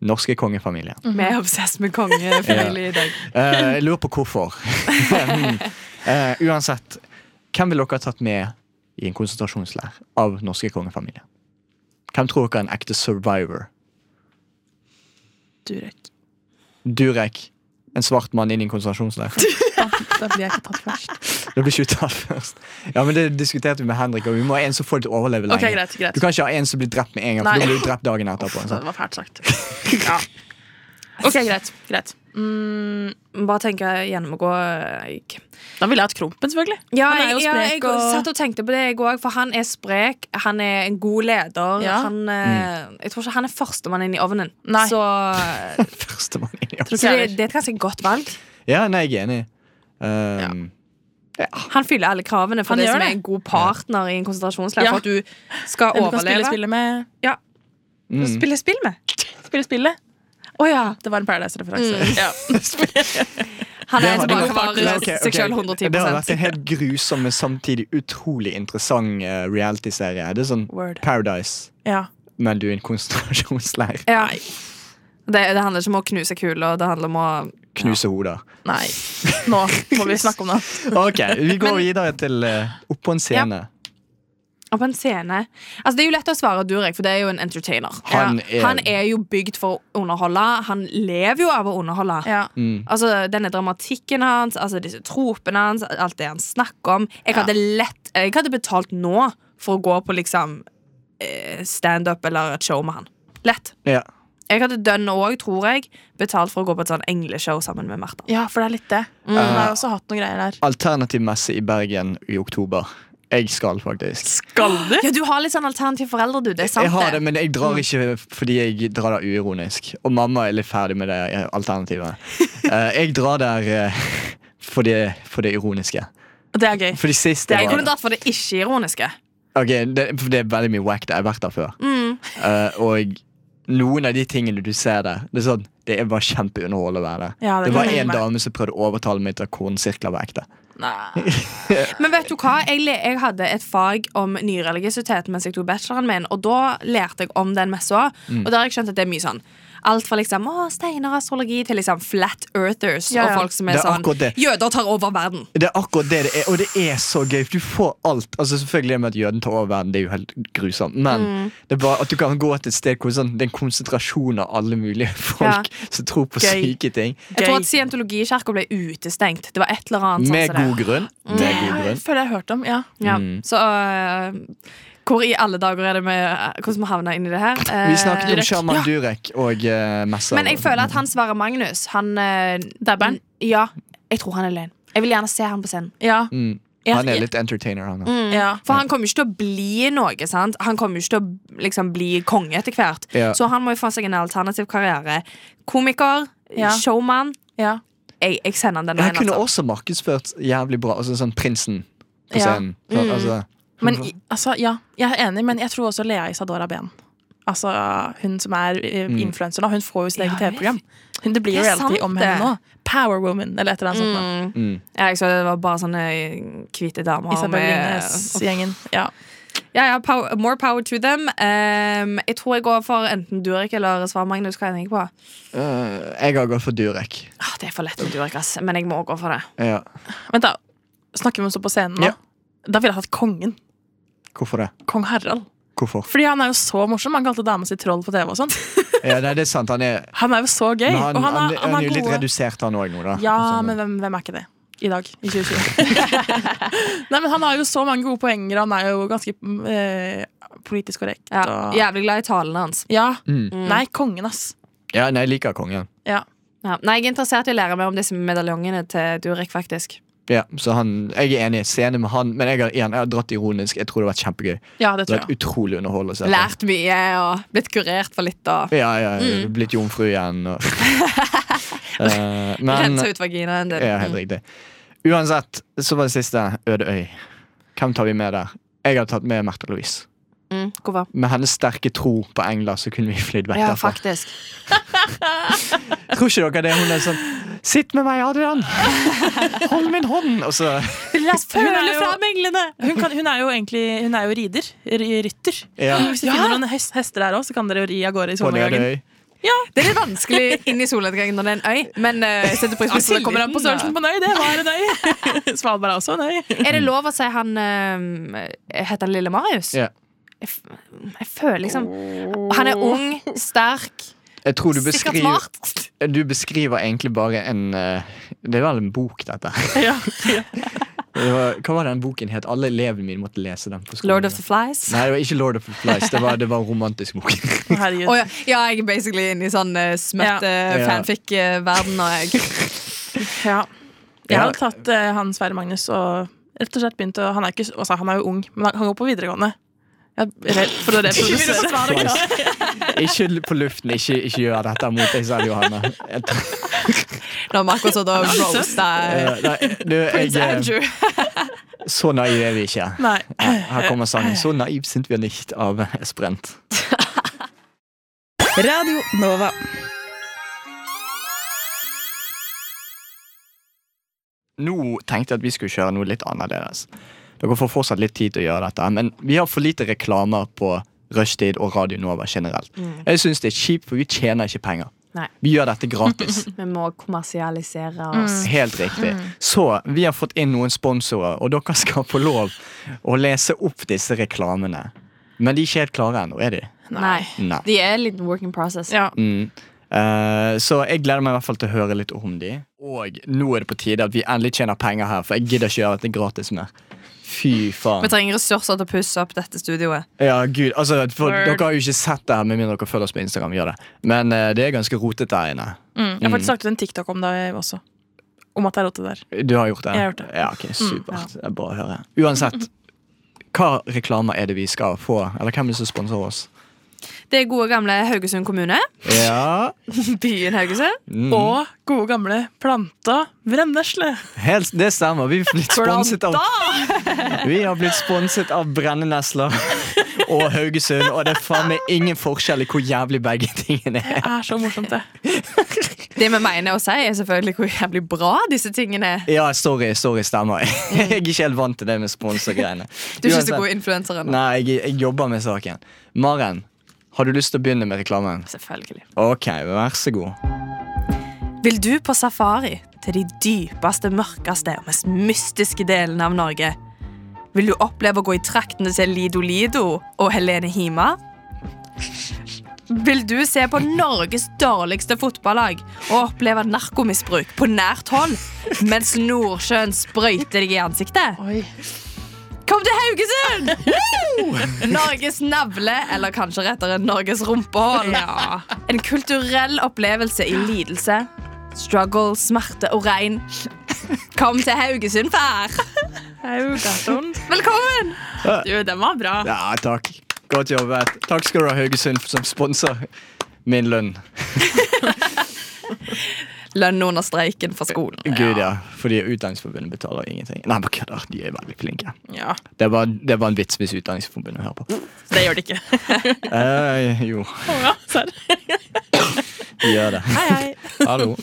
[SPEAKER 2] norske kongefamilier.
[SPEAKER 6] Mhm.
[SPEAKER 7] Vi er obsess med kongefamilie i dag.
[SPEAKER 2] Eh, jeg lurer på hvorfor. Mm. Eh, uansett, hvem ville dere ha tatt med i en konsentrasjonsleir av norske kongefamilier? Hvem tror dere er en ekte survivor?
[SPEAKER 6] Durek.
[SPEAKER 2] Durek, en svart mann inn i en konsentrasjonsleir.
[SPEAKER 6] Da blir jeg ikke tatt først.
[SPEAKER 2] Det blir ikke uttalt først. Ja, men Det diskuterte vi med Henrik, og vi må ha en som får det til å overleve lenge.
[SPEAKER 6] Ok, greit, greit.
[SPEAKER 2] Du kan ikke ha en som blir drept med en gang,
[SPEAKER 6] Nei.
[SPEAKER 2] for da blir du drept dagen etterpå. Sånn,
[SPEAKER 6] Så
[SPEAKER 2] sant?
[SPEAKER 6] det var fælt sagt. Ja. Ok, greit. greit. Mm,
[SPEAKER 7] Bare tenke gjennomgå eh, k-
[SPEAKER 6] Da ville jeg hatt Krompen, selvfølgelig.
[SPEAKER 7] ja,
[SPEAKER 6] Han er
[SPEAKER 7] jeg,
[SPEAKER 6] jo
[SPEAKER 7] ja,
[SPEAKER 6] sprek
[SPEAKER 7] jeg
[SPEAKER 6] og-
[SPEAKER 7] satt og tenkte på det, jeg òg, for han er sprek. Han er en god leder.
[SPEAKER 6] Ja.
[SPEAKER 7] Han, eh,
[SPEAKER 2] Mm.
[SPEAKER 7] Jeg tror ikke han er førstemann inn i ovnen.
[SPEAKER 6] Nei.
[SPEAKER 7] Så,
[SPEAKER 2] Førstemann inn i oss.
[SPEAKER 6] Tror
[SPEAKER 7] så
[SPEAKER 6] ikke jeg
[SPEAKER 7] det,
[SPEAKER 6] heller.
[SPEAKER 7] det er et ganske godt valg.
[SPEAKER 2] Ja, nei, jeg er enig. Um,
[SPEAKER 7] Han fyller alle kravene for
[SPEAKER 6] Han
[SPEAKER 7] det
[SPEAKER 6] gjør
[SPEAKER 7] som
[SPEAKER 6] det.
[SPEAKER 7] er en god partner i en konsentrasjonsleir.
[SPEAKER 6] Ja.
[SPEAKER 7] For at du skal
[SPEAKER 6] Hvem du kan spille
[SPEAKER 7] overleve.
[SPEAKER 6] spillet Mm. med.
[SPEAKER 7] Spille spill med.
[SPEAKER 6] spille spillet. Å ja! Det var en Paradise-referanse. Ja.
[SPEAKER 7] Han er
[SPEAKER 2] Det var-
[SPEAKER 7] tilbakevarer
[SPEAKER 2] Ok, ok.
[SPEAKER 7] seg sjøl
[SPEAKER 2] Det har vært
[SPEAKER 7] 110
[SPEAKER 2] en helt grusom, men samtidig utrolig interessant eh, reality-serie. Det er sånn
[SPEAKER 6] Word.
[SPEAKER 2] Paradise,
[SPEAKER 6] ja.
[SPEAKER 2] men du er i en konsentrasjonsleir.
[SPEAKER 7] ja. det, det handler ikke om å knuse kula, det handler om å
[SPEAKER 2] Knuse hoder.
[SPEAKER 6] Nei. Nå må vi snakke om noe.
[SPEAKER 2] Ok, vi går videre til eh, opp på en scene.
[SPEAKER 7] Og på en scene Altså Det er jo lett å svare Durek, for det er jo en entertainer.
[SPEAKER 2] Han
[SPEAKER 7] Ja.
[SPEAKER 2] er-
[SPEAKER 7] han er jo bygd for å underholde. Han lever jo av å underholde.
[SPEAKER 6] Ja.
[SPEAKER 7] Altså Denne dramatikken hans, altså disse tropene hans, alt det han snakker om. Jeg hadde lett Jeg hadde betalt nå for å gå på liksom eh, standup eller et show med han. Lett.
[SPEAKER 2] Ja.
[SPEAKER 7] Jeg hadde dønn òg, tror jeg, betalt for å gå på et sånn engleshow sammen med Martha.
[SPEAKER 6] ja, for det er litt det. Hun har jo også hatt noen greier der.
[SPEAKER 2] Alternativ messe i Bergen i oktober. Jeg skal faktisk.
[SPEAKER 6] Skal du?
[SPEAKER 7] Ja, Du har litt sånn alternative foreldre, du. Det er sant,
[SPEAKER 2] Jeg har det, men jeg
[SPEAKER 6] Mm.
[SPEAKER 2] drar ikke fordi jeg drar der uironisk. Og mamma er litt ferdig med det eh, alternativet. Eh, jeg drar der eh, for, det, for det ironiske.
[SPEAKER 6] Det er gøy.
[SPEAKER 2] For de siste
[SPEAKER 7] Jeg
[SPEAKER 2] var
[SPEAKER 7] kunne dratt for det ikke-ironiske.
[SPEAKER 2] Ok, det, for det er veldig mye wack der. Jeg har vært der før.
[SPEAKER 6] Mm.
[SPEAKER 2] Eh, og noen av de tingene du ser der, det er sånn Det er bare kjempeunderholdende å være der.
[SPEAKER 6] Ja, det
[SPEAKER 2] det
[SPEAKER 6] kan
[SPEAKER 2] var
[SPEAKER 6] jeg
[SPEAKER 2] en
[SPEAKER 6] tenke meg.
[SPEAKER 2] dame som prøvde å overtale meg til at kornsirkler var ekte.
[SPEAKER 7] Men vet du hva? Jeg, le- jeg hadde et fag om nyreligiøsitet mens jeg tok bacheloren min, og da lærte jeg om den messa.
[SPEAKER 2] Mm.
[SPEAKER 7] Og da har jeg skjønt at det er mye sånn Alt fra liksom, å, steiner og astrologi til liksom flat earthers
[SPEAKER 6] Ja, ja.
[SPEAKER 7] og folk som er,
[SPEAKER 2] Det er akkurat
[SPEAKER 7] sånn
[SPEAKER 2] det.
[SPEAKER 7] Jøder tar over verden.
[SPEAKER 2] Det er akkurat det det er, og det er så gøy. For du får alt. Altså Selvfølgelig det med at jøden tar over verden, det er jo helt grusomt. Men
[SPEAKER 6] Mm.
[SPEAKER 2] det er bare at du kan gå til et sted hvor sånn, det er en konsentrasjon av alle mulige folk som tror på
[SPEAKER 6] Gøy.
[SPEAKER 2] syke ting.
[SPEAKER 7] Jeg
[SPEAKER 6] Gøy.
[SPEAKER 7] tror at scientologikirka ble utestengt. Det var et eller annet sånn
[SPEAKER 2] Med Mm.
[SPEAKER 7] som det.
[SPEAKER 2] god grunn.
[SPEAKER 6] Mm.
[SPEAKER 2] Med god
[SPEAKER 6] Jeg
[SPEAKER 2] grunn.
[SPEAKER 6] føler jeg har hørt om. Ja.
[SPEAKER 7] Ja. Så øh, hvor i alle dager er det med øh, Hvordan vi havna inn i det her?
[SPEAKER 2] Vi snakket om
[SPEAKER 7] Eh,
[SPEAKER 2] Sjarman Durek og uh, messer.
[SPEAKER 7] Men jeg føler at han Sverre Magnus, han eh,
[SPEAKER 6] Dabberen?
[SPEAKER 7] Ja. Jeg tror han er løgn. Jeg vil gjerne se han på scenen.
[SPEAKER 6] Ja. Mm,
[SPEAKER 2] mm.
[SPEAKER 6] Jeg-
[SPEAKER 2] Han er litt entertainer, han. da.
[SPEAKER 6] ja.
[SPEAKER 7] For han kommer jo ikke til å bli noe. sant? Han kommer jo ikke til å liksom, bli konge etter hvert.
[SPEAKER 2] Ja.
[SPEAKER 7] Så han må jo få seg en alternativ karriere. Komiker,
[SPEAKER 6] Ja.
[SPEAKER 7] showman.
[SPEAKER 6] ja.
[SPEAKER 7] Jeg, jeg sender han den
[SPEAKER 2] Han
[SPEAKER 7] veien.
[SPEAKER 2] kunne
[SPEAKER 7] Altså.
[SPEAKER 2] også markedsført jævlig bra. Altså sånn Prinsen på
[SPEAKER 6] Ja.
[SPEAKER 2] scenen.
[SPEAKER 6] Mm.
[SPEAKER 2] Sånn, altså,
[SPEAKER 6] Men i- altså, ja, jeg er enig, men jeg tror også Lea Isadora Ben. Altså, Hun som er eh,
[SPEAKER 2] Mm.
[SPEAKER 6] influenseren, hun får jo sitt eget
[SPEAKER 7] Ja,
[SPEAKER 6] TV-program. Hun- Det Mm. blir jo
[SPEAKER 7] Det er
[SPEAKER 6] reality
[SPEAKER 7] sant,
[SPEAKER 6] om
[SPEAKER 7] det.
[SPEAKER 6] henne nå. Power Woman, eller et eller annet sånt. nå.
[SPEAKER 7] Mm.
[SPEAKER 2] Mm.
[SPEAKER 7] Ja, jeg så det var bare sånne eh, hvite damer.
[SPEAKER 6] Isabel Ringnes-gjengen. Ja.
[SPEAKER 7] Ja, ja, pow- more power to them. Ehm, jeg tror jeg går for enten Durek eller Svar Magnus. Hva jeg tenker på?
[SPEAKER 2] øh, jeg har gått for Durek.
[SPEAKER 7] Ah, det er for lett med Durek, ass. men jeg må gå for det.
[SPEAKER 2] Ja.
[SPEAKER 6] Vent, da. Snakker vi om å stå på scenen nå?
[SPEAKER 2] Ja.
[SPEAKER 6] Da ville jeg hatt kongen.
[SPEAKER 2] Hvorfor det?
[SPEAKER 6] Kong Harald.
[SPEAKER 2] Hvorfor?
[SPEAKER 6] Fordi han er jo så morsom. Han kalte dama si troll på TV og sånn.
[SPEAKER 2] Ja, nei, det er sant. Han er
[SPEAKER 6] Han er jo så gøy.
[SPEAKER 2] Men han,
[SPEAKER 6] og
[SPEAKER 2] han,
[SPEAKER 6] han, har- han
[SPEAKER 2] er
[SPEAKER 6] har
[SPEAKER 2] jo litt
[SPEAKER 6] gode
[SPEAKER 2] redusert, han òg, nå. da
[SPEAKER 6] Ja,
[SPEAKER 2] Sånn.
[SPEAKER 6] men hvem, hvem er ikke det? I dag, i 2020. Nei, men Han har jo så mange gode poenger, og han er jo ganske mm, eh, politisk korrekt.
[SPEAKER 7] Ja,
[SPEAKER 6] og,
[SPEAKER 7] Jævlig glad i talene hans.
[SPEAKER 6] ja.
[SPEAKER 2] mm.
[SPEAKER 6] Nei, kongen, ass.
[SPEAKER 2] ja nei, jeg liker kongen.
[SPEAKER 6] Ja.
[SPEAKER 7] Ja. Nei, Jeg er interessert i å lære mer om disse medaljongene til Durek, faktisk.
[SPEAKER 2] Ja, så han, Jeg er enig. Scene med han, men jeg har, igjen, jeg har dratt ironisk. Jeg tror det har vært kjempegøy. Det
[SPEAKER 6] ja, det
[SPEAKER 2] har
[SPEAKER 6] tror
[SPEAKER 2] vært
[SPEAKER 6] jeg.
[SPEAKER 2] Utrolig underholdende. å se på.
[SPEAKER 7] Lært mye og blitt kurert for litt. og
[SPEAKER 2] Ja, ja, Blitt jomfru igjen. Og. Eh, men
[SPEAKER 7] Rensa ut vaginaen din.
[SPEAKER 2] Ja, helt riktig. Uansett, så var det siste Ødeøy. Hvem tar vi med der? Jeg har tatt med Märtha Louise.
[SPEAKER 7] Mm, hvorfor?
[SPEAKER 2] Med hennes sterke tro på engler så kunne vi flydd vekk
[SPEAKER 7] Ja,
[SPEAKER 2] derfra.
[SPEAKER 7] faktisk.
[SPEAKER 2] Tror ikke dere det? Hun er sånn Sitt med meg, Adrian! Hold min hånd! Og så
[SPEAKER 6] Hun er, jo, hun, kan, hun er jo egentlig Hun er jo rider. ry- Rytter.
[SPEAKER 2] Ja.
[SPEAKER 6] Hvis du finner noen hest, hester der òg, så kan dere jo ri av gårde i
[SPEAKER 2] på
[SPEAKER 6] solnedgangen.
[SPEAKER 2] Ødeøy.
[SPEAKER 7] Det er litt vanskelig inn i solnedgangen når det er en øy, men eh, jeg setter pris på at det kommer an på størrelsen.
[SPEAKER 6] på en øy, det var en øy. Svalbard er også en øy.
[SPEAKER 7] Er det lov å si han eh, Heter han Lille Marius?
[SPEAKER 2] Ja.
[SPEAKER 7] Jeg, f jeg føler liksom Han er ung, sterk,
[SPEAKER 2] Jeg tror du
[SPEAKER 7] sikkert
[SPEAKER 2] beskriver,
[SPEAKER 7] smart.
[SPEAKER 2] du beskriver egentlig bare en eh, Det er vel en bok, dette.
[SPEAKER 6] Ja.
[SPEAKER 2] Det var, hva var den boken het? Alle elevene mine måtte lese den på skolen.
[SPEAKER 7] Lord of the Flies.
[SPEAKER 2] Nei, det var ikke Lord of the Flies. Det var, det var en romantisk bok.
[SPEAKER 6] Herregud.
[SPEAKER 7] Å ja. ja, jeg er basically inne i sånn uh, smøtte
[SPEAKER 2] Ja.
[SPEAKER 7] fanfic-verden. og jeg
[SPEAKER 6] Ja. Jeg
[SPEAKER 2] Ja.
[SPEAKER 6] har tatt eh, han Sverre Magnus og rett og slett begynt å Han er, ikke, altså, han er jo ung, men han, han går på videregående. Jeg, er redd for å reprodusere.
[SPEAKER 2] Ikke l- på luften. Ikke, ikke gjør dette mot deg selv, Johanne. Jeg, tror-
[SPEAKER 7] Når Markus sånn og da roasta
[SPEAKER 2] eh, nei, du, jeg, eh,
[SPEAKER 7] Andrew.
[SPEAKER 2] så naiv er vi ikke.
[SPEAKER 6] Nei.
[SPEAKER 2] Her kommer sangen 'Så naiv sind vi nicht' av Esprent.
[SPEAKER 9] Radio Nova.
[SPEAKER 2] Nå tenkte jeg at vi skulle kjøre noe litt annerledes. Dere får fortsatt litt tid til å gjøre dette, men vi har for lite reklamer på Rushtid og Radio Nova generelt. Jeg syns det er kjipt, for vi tjener ikke penger.
[SPEAKER 7] Mm. Nei. Mm.
[SPEAKER 2] Vi gjør dette gratis.
[SPEAKER 7] Vi må kommersialisere oss.
[SPEAKER 2] Helt riktig.
[SPEAKER 7] Mm.
[SPEAKER 2] Så vi har fått inn noen sponsorer, og dere skal få lov å lese opp disse reklamene. Men de er ikke helt klare ennå, er de?
[SPEAKER 7] Nei.
[SPEAKER 2] Nei.
[SPEAKER 7] De er en liten working process.
[SPEAKER 5] Ja.
[SPEAKER 2] Mm. Eh, så jeg gleder meg i hvert fall til å høre litt om de. Og nå er det på tide at vi endelig tjener penger her, for jeg gidder ikke gjøre dette gratis mer. Fy
[SPEAKER 7] Vi
[SPEAKER 2] faen.
[SPEAKER 7] trenger ressurser til å pusse opp dette studioet.
[SPEAKER 2] Ja, gud, altså, for, dere har jo ikke sett det her, med mindre dere følger oss på Instagram. Gjør det. Men eh, det er ganske rotete der inne.
[SPEAKER 6] Jeg har faktisk
[SPEAKER 2] mm.
[SPEAKER 6] lagt ut en TikTok om det også. Om at det er rotte der.
[SPEAKER 2] Du har gjort det?
[SPEAKER 6] Jeg har gjort det. Mm,
[SPEAKER 2] Ja, ok, Supert. Det er bra å høre. Uansett, hva reklamer er det vi skal få? Eller hvem er det som sponsorer oss?
[SPEAKER 7] Det er gode gamle Haugesund kommune.
[SPEAKER 2] Ja,
[SPEAKER 7] Byen Haugesund.
[SPEAKER 2] Mm.
[SPEAKER 6] Og gode gamle planta brennesle.
[SPEAKER 2] helt, det stemmer. Vi har blitt sponset av Vi har blitt sponset av Brennenesler og Haugesund, og det er faen meg ingen forskjell i hvor jævlig begge tingene er.
[SPEAKER 6] Det er så morsomt, det.
[SPEAKER 7] Det vi mener å si, er selvfølgelig hvor jævlig bra disse tingene er.
[SPEAKER 2] Ja, sorry, sorry, stemmer. Jeg er ikke helt vant til det med sponsorgreiene.
[SPEAKER 7] Du er ikke
[SPEAKER 2] Uansett.
[SPEAKER 7] så god influenser ennå.
[SPEAKER 2] Nei, jeg, jeg jobber med saken. Maren, har du lyst til å begynne med reklamen?
[SPEAKER 7] Selvfølgelig.
[SPEAKER 2] Ok, vær så god.
[SPEAKER 7] Vil du på safari til de dypeste, mørkeste og mest mystiske delene av Norge? Vil du oppleve å gå i traktene til Lido Lido og Helene Hima? Vil du se på Norges dårligste fotballag og oppleve narkomisbruk på nært hold mens Nordsjøen sprøyter deg i ansiktet? Kom til Haugesund! Woo! Norges navle, eller kanskje rettere Norges rumpehull. En kulturell opplevelse i lidelse, struggle, smerte og regn. Kom til Haugesund, far! Velkommen!
[SPEAKER 6] Du, den var bra.
[SPEAKER 2] Ja, takk. Godt jobbet. Takk skal du ha, Haugesund, som sponser min lønn.
[SPEAKER 7] Lønn under streiken for skolen.
[SPEAKER 2] Gud, ja. Fordi Utdanningsforbundet betaler ingenting. Nei, bare kødder. De er veldig flinke.
[SPEAKER 6] Ja,
[SPEAKER 2] Det var, det var en vits hvis Utdanningsforbundet hører på.
[SPEAKER 6] Det gjør det ikke.
[SPEAKER 2] Eh, jo,
[SPEAKER 6] Ja, serr.
[SPEAKER 2] de gjør det.
[SPEAKER 6] Hei, hei.
[SPEAKER 2] Hallo.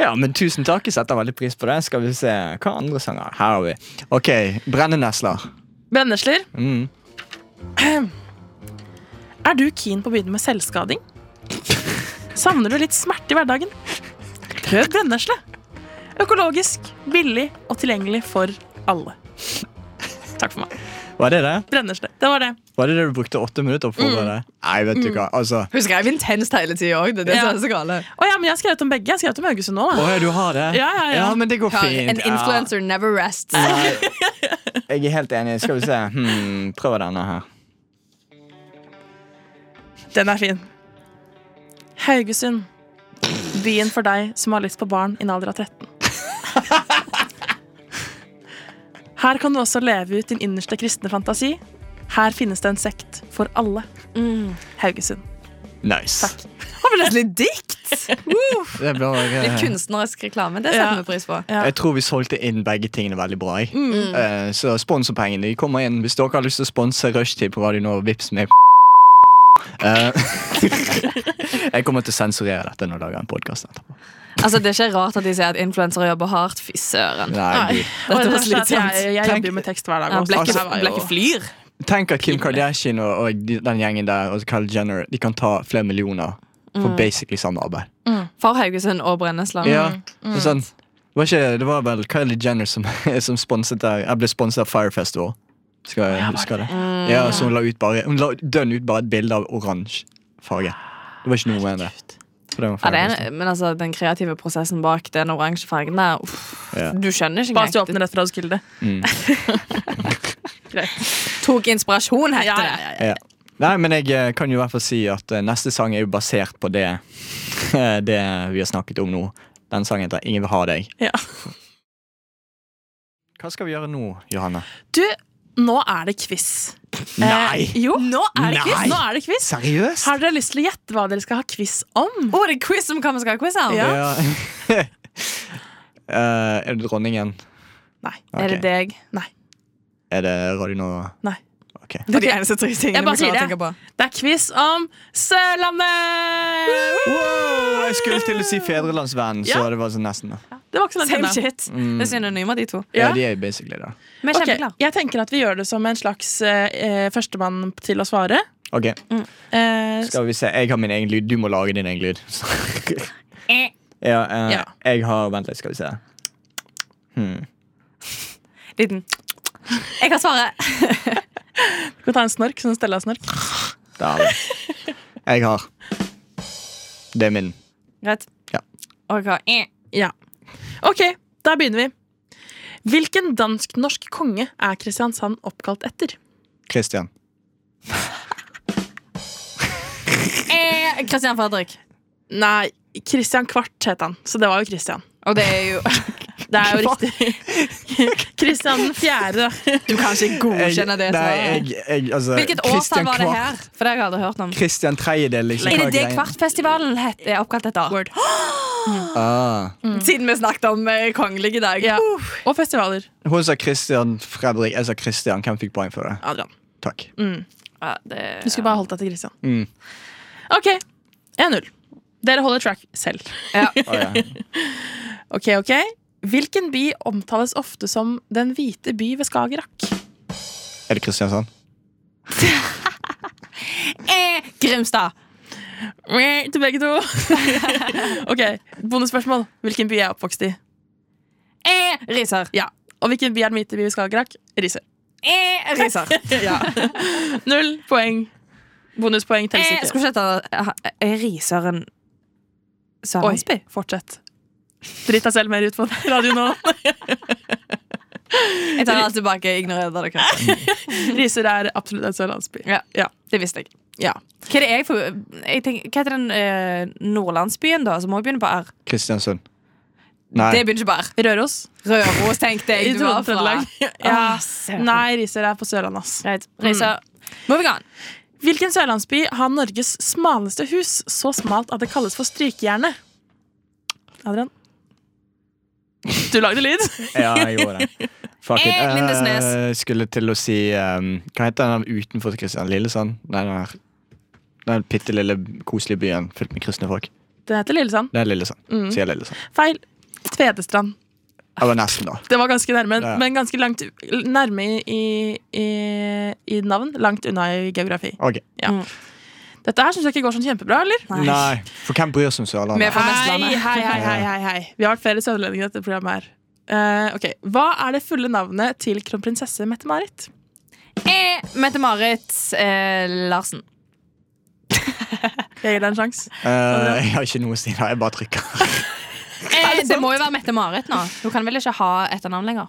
[SPEAKER 2] Ja, men tusen takk. Jeg setter veldig pris på det. Skal vi se hva andre sanger Her har vi. OK, Brennenesler.
[SPEAKER 6] Brennesler,
[SPEAKER 2] Mm.
[SPEAKER 6] er du keen på å begynne med selvskading? Savner du litt smerte i hverdagen? Prøv brennesle. Økologisk, billig og tilgjengelig for alle. Takk for meg.
[SPEAKER 2] Var det det?
[SPEAKER 6] Brennesle. Det var det.
[SPEAKER 2] Var det det du brukte åtte minutter på? Mm. Nei, vet du hva. Altså
[SPEAKER 7] Hun skrev intenst hele tida òg. Det er det som
[SPEAKER 6] Ja.
[SPEAKER 7] er så gale.
[SPEAKER 6] Å ja, men jeg har skrevet om begge. Jeg har skrevet om Haugesund nå.
[SPEAKER 2] Å
[SPEAKER 6] Da.
[SPEAKER 2] ja, du har det?
[SPEAKER 6] Ja, ja, ja.
[SPEAKER 2] men det går
[SPEAKER 7] Hør,
[SPEAKER 2] fint.
[SPEAKER 7] En
[SPEAKER 2] Ja.
[SPEAKER 7] influencer never rests.
[SPEAKER 2] Nei, jeg er helt enig. Skal vi se. Hmm, prøv denne her.
[SPEAKER 6] Den er fin. Haugesund. Byen for deg som har lyst på barn i en alder av 13. Her kan du også leve ut din innerste kristne fantasi. Her finnes det en sekt for alle. Mm. Haugesund.
[SPEAKER 2] Nice.
[SPEAKER 7] Har vi nesten litt dikt?
[SPEAKER 2] Det er bra, eh,
[SPEAKER 7] Litt kunstnerisk reklame. Det setter
[SPEAKER 6] Ja.
[SPEAKER 7] vi pris på.
[SPEAKER 2] Jeg tror vi solgte inn begge tingene veldig bra. jeg. Eh, så sponsorpengene de kommer inn hvis dere har lyst til å sponse Rushtid på Radio Nova. Vips meg. Eh, jeg kommer til å sensurere dette når jeg lager en podkast etterpå.
[SPEAKER 7] Altså, det er ikke rart at de sier at influensere jobber hardt. Fy søren.
[SPEAKER 2] Nei, Gud.
[SPEAKER 6] Og
[SPEAKER 7] Dette
[SPEAKER 6] det
[SPEAKER 7] var
[SPEAKER 6] verste er at
[SPEAKER 7] slitsomt.
[SPEAKER 6] Jeg, jeg
[SPEAKER 2] Tenk-
[SPEAKER 6] jobber jo med tekst hver dag.
[SPEAKER 7] Ja,
[SPEAKER 6] også.
[SPEAKER 7] Blekket
[SPEAKER 6] Altså, det var jo-
[SPEAKER 7] blekket flyr.
[SPEAKER 2] Tenk at Kim Kardashian og, og de- den gjengen der og Kyle Jenner De kan ta flere millioner for basically samme arbeid.
[SPEAKER 7] For Haugesund og Brennesland.
[SPEAKER 2] Ja, og sånn var ikke, Det var vel Kylie Jenner som, som sponset der Jeg ble sponset av Fire Festival Skal jeg huske det Mm. Ja, så hun la ut bare Hun la dønn ut bare et bilde av oransje farge Det var ikke noe med det For det var
[SPEAKER 7] Ja,
[SPEAKER 2] Fyre
[SPEAKER 7] det
[SPEAKER 2] Festival.
[SPEAKER 7] er, men altså, den kreative prosessen bak den oransje fargen der uff,
[SPEAKER 2] Ja.
[SPEAKER 7] Du skjønner ikke
[SPEAKER 6] Bare stå åpne
[SPEAKER 7] engang.
[SPEAKER 6] rett fra Roskilde.
[SPEAKER 7] Tok inspirasjon, heter
[SPEAKER 6] Ja, ja,
[SPEAKER 7] det.
[SPEAKER 2] ja. Nei, men jeg eh, kan jo i hvert fall si at eh, neste sang er jo basert på det Det vi har snakket om nå Den sangen heter Ingen vil ha deg
[SPEAKER 6] Ja.
[SPEAKER 2] Hva skal vi gjøre nå, Johanne?
[SPEAKER 6] Du, nå er det quiz.
[SPEAKER 2] Nei!
[SPEAKER 6] Eh, jo, nå er det quiz.
[SPEAKER 2] Nei!
[SPEAKER 6] Nå er det quiz.
[SPEAKER 2] Seriøst?
[SPEAKER 6] Har dere lyst til å gjette hva dere skal ha quiz om?
[SPEAKER 7] Å, det er quiz om hva vi skal ha quiz om!
[SPEAKER 2] Ja. Eh, er det dronningen?
[SPEAKER 6] Nei.
[SPEAKER 2] Ok.
[SPEAKER 7] Er det deg?
[SPEAKER 2] Er det Radio Nova?
[SPEAKER 6] Nei.
[SPEAKER 2] Ok. ok.
[SPEAKER 6] Det er de eneste tre tingene
[SPEAKER 7] Jeg bare
[SPEAKER 6] klarer å
[SPEAKER 7] sier det.
[SPEAKER 6] tenke på. Det er quiz om Sørlandet!
[SPEAKER 2] Wow, jeg skulle til å si fedrelandsvennen, så det var sånn nesten. da.
[SPEAKER 6] Det var ikke så langt
[SPEAKER 7] Same
[SPEAKER 6] unna.
[SPEAKER 7] shit. Det er synonymer, de to.
[SPEAKER 2] Mm. Ja, de er jo basically det.
[SPEAKER 7] Men
[SPEAKER 6] Ok,
[SPEAKER 7] kjempeglad.
[SPEAKER 6] jeg tenker at vi gjør det som en slags eh, eh, førstemann til å svare.
[SPEAKER 2] Ok,
[SPEAKER 7] Mm.
[SPEAKER 6] Eh,
[SPEAKER 2] skal vi se. Jeg har min egen lyd. Du må lage din egen lyd. ja, eh,
[SPEAKER 6] Ja.
[SPEAKER 2] jeg har Vent litt, skal vi se.
[SPEAKER 7] Liten Jeg kan svare.
[SPEAKER 6] skal vi ta en snork? Sånn Stella-snork.
[SPEAKER 2] Der har vi. Jeg har Det er min.
[SPEAKER 7] Greit.
[SPEAKER 2] Ja.
[SPEAKER 7] Ok. Eh.
[SPEAKER 6] Ja. Ok, da begynner vi. Hvilken dansk-norsk konge er Kristiansand oppkalt etter?
[SPEAKER 2] Christian.
[SPEAKER 7] Eh, Christian Fredrik.
[SPEAKER 6] Nei, Kristian Kvart het han, så det var jo Kristian.
[SPEAKER 7] Og det er jo
[SPEAKER 6] Det er jo riktig. Kristian den fjerde.
[SPEAKER 7] Du kan ikke godkjenne det
[SPEAKER 2] nei,
[SPEAKER 7] svaret.
[SPEAKER 2] jeg, jeg, altså,
[SPEAKER 7] Hvilket årstall var det her? For det har jeg aldri hørt om.
[SPEAKER 2] Christian tredjedel. Liksom,
[SPEAKER 7] Er det
[SPEAKER 2] hva
[SPEAKER 7] det
[SPEAKER 2] greien?
[SPEAKER 7] Kvartfestivalen het, er oppkalt etter?
[SPEAKER 2] Ah.
[SPEAKER 7] Siden vi snakket om eh, kongelige Uh. i dag.
[SPEAKER 6] Ja. Og festivaler.
[SPEAKER 2] Hun sa Christian Fredrik. Jeg sa Christian. Hvem fikk poeng for det?
[SPEAKER 6] Adrian.
[SPEAKER 2] Takk.
[SPEAKER 7] Mm. Ja, det-
[SPEAKER 6] Du skulle bare holdt deg til Kristian.
[SPEAKER 2] Mm.
[SPEAKER 6] Ok, 1-0. Dere holder track selv.
[SPEAKER 2] Å, ja.
[SPEAKER 6] Ok, ok. Hvilken by omtales ofte som Den hvite by ved Skagerrak?
[SPEAKER 2] Er det Kristiansand?
[SPEAKER 7] eh, Grimstad.
[SPEAKER 6] Meh, Til begge to. ok, Bonusspørsmål. Hvilken by er jeg oppvokst i?
[SPEAKER 7] Eh, Risør.
[SPEAKER 6] Ja. Og hvilken by er Den hvite by ved Skagerrak? Risør.
[SPEAKER 7] Eh, Risør.
[SPEAKER 6] Null poeng. Bonuspoeng telles
[SPEAKER 7] Eh,
[SPEAKER 6] ikke.
[SPEAKER 7] skulle ikke hete eh, Risøren
[SPEAKER 6] Oi,
[SPEAKER 7] Sørlandsby.
[SPEAKER 6] fortsett. Drit deg selv mer ut på radio nå.
[SPEAKER 7] Jeg tar alt tilbake. Ignorer det. dere.
[SPEAKER 6] Risør er absolutt en sørlandsby.
[SPEAKER 7] Ja. Det visste jeg.
[SPEAKER 6] Ja.
[SPEAKER 7] Hva, er det jeg for, jeg tenker, hva heter den eh, nordlandsbyen, da, som også begynner på R?
[SPEAKER 2] Kristiansund. Nei.
[SPEAKER 7] Det begynner ikke på R.
[SPEAKER 6] Røros.
[SPEAKER 7] Røros, tenkte
[SPEAKER 6] I
[SPEAKER 7] jeg. Du var fra.
[SPEAKER 6] Trøndelag. Ja.
[SPEAKER 7] Åh, søren.
[SPEAKER 6] Nei, Risør er på Sørlandet, ass.
[SPEAKER 7] Greit. Risør. Moving on.
[SPEAKER 6] Hvilken sørlandsby har Norges smaleste hus, så smalt at det kalles for strykejernet? Adrian? Du lagde lyd.
[SPEAKER 2] Ja, jeg gjorde det. Fuck it.
[SPEAKER 7] Eh, Lindesnes.
[SPEAKER 2] Eh, skulle til å si ehm, Hva heter den der utenfor Kristian? Lillesand? Nei, den her. Den bitte lille, koselige byen fylt med kristne folk.
[SPEAKER 6] Den heter Lillesand.
[SPEAKER 2] Det er Lillesand.
[SPEAKER 7] Mm.
[SPEAKER 2] Sier Lillesand.
[SPEAKER 6] Feil. Tvedestrand.
[SPEAKER 2] Jeg var nesten, da.
[SPEAKER 6] Det var ganske nærme,
[SPEAKER 2] Ja.
[SPEAKER 6] men ganske langt u- nærme i, i, i- i navn. Langt unna i geografi.
[SPEAKER 2] Ok.
[SPEAKER 6] Dette her syns jeg ikke går sånn kjempebra, eller?
[SPEAKER 2] Nei, for hvem bryr seg om
[SPEAKER 7] Vi er
[SPEAKER 2] Sørlandet?
[SPEAKER 7] fra
[SPEAKER 6] Hei,
[SPEAKER 7] Vestlandet.
[SPEAKER 6] hei, hei, hei, hei, hei. Vi har vært flere sørlendinger i dette programmet her. Eh, ok, Hva er det fulle navnet til kronprinsesse Mette-Marit?
[SPEAKER 7] Eh, Mette-Marit eh, Larsen.
[SPEAKER 6] Jeg gir deg en sjanse.
[SPEAKER 2] Eh, jeg har ikke noe å si. da. Jeg bare trykker.
[SPEAKER 7] Eh, det må jo være Mette-Marit nå. Hun kan vel ikke ha etternavn lenger?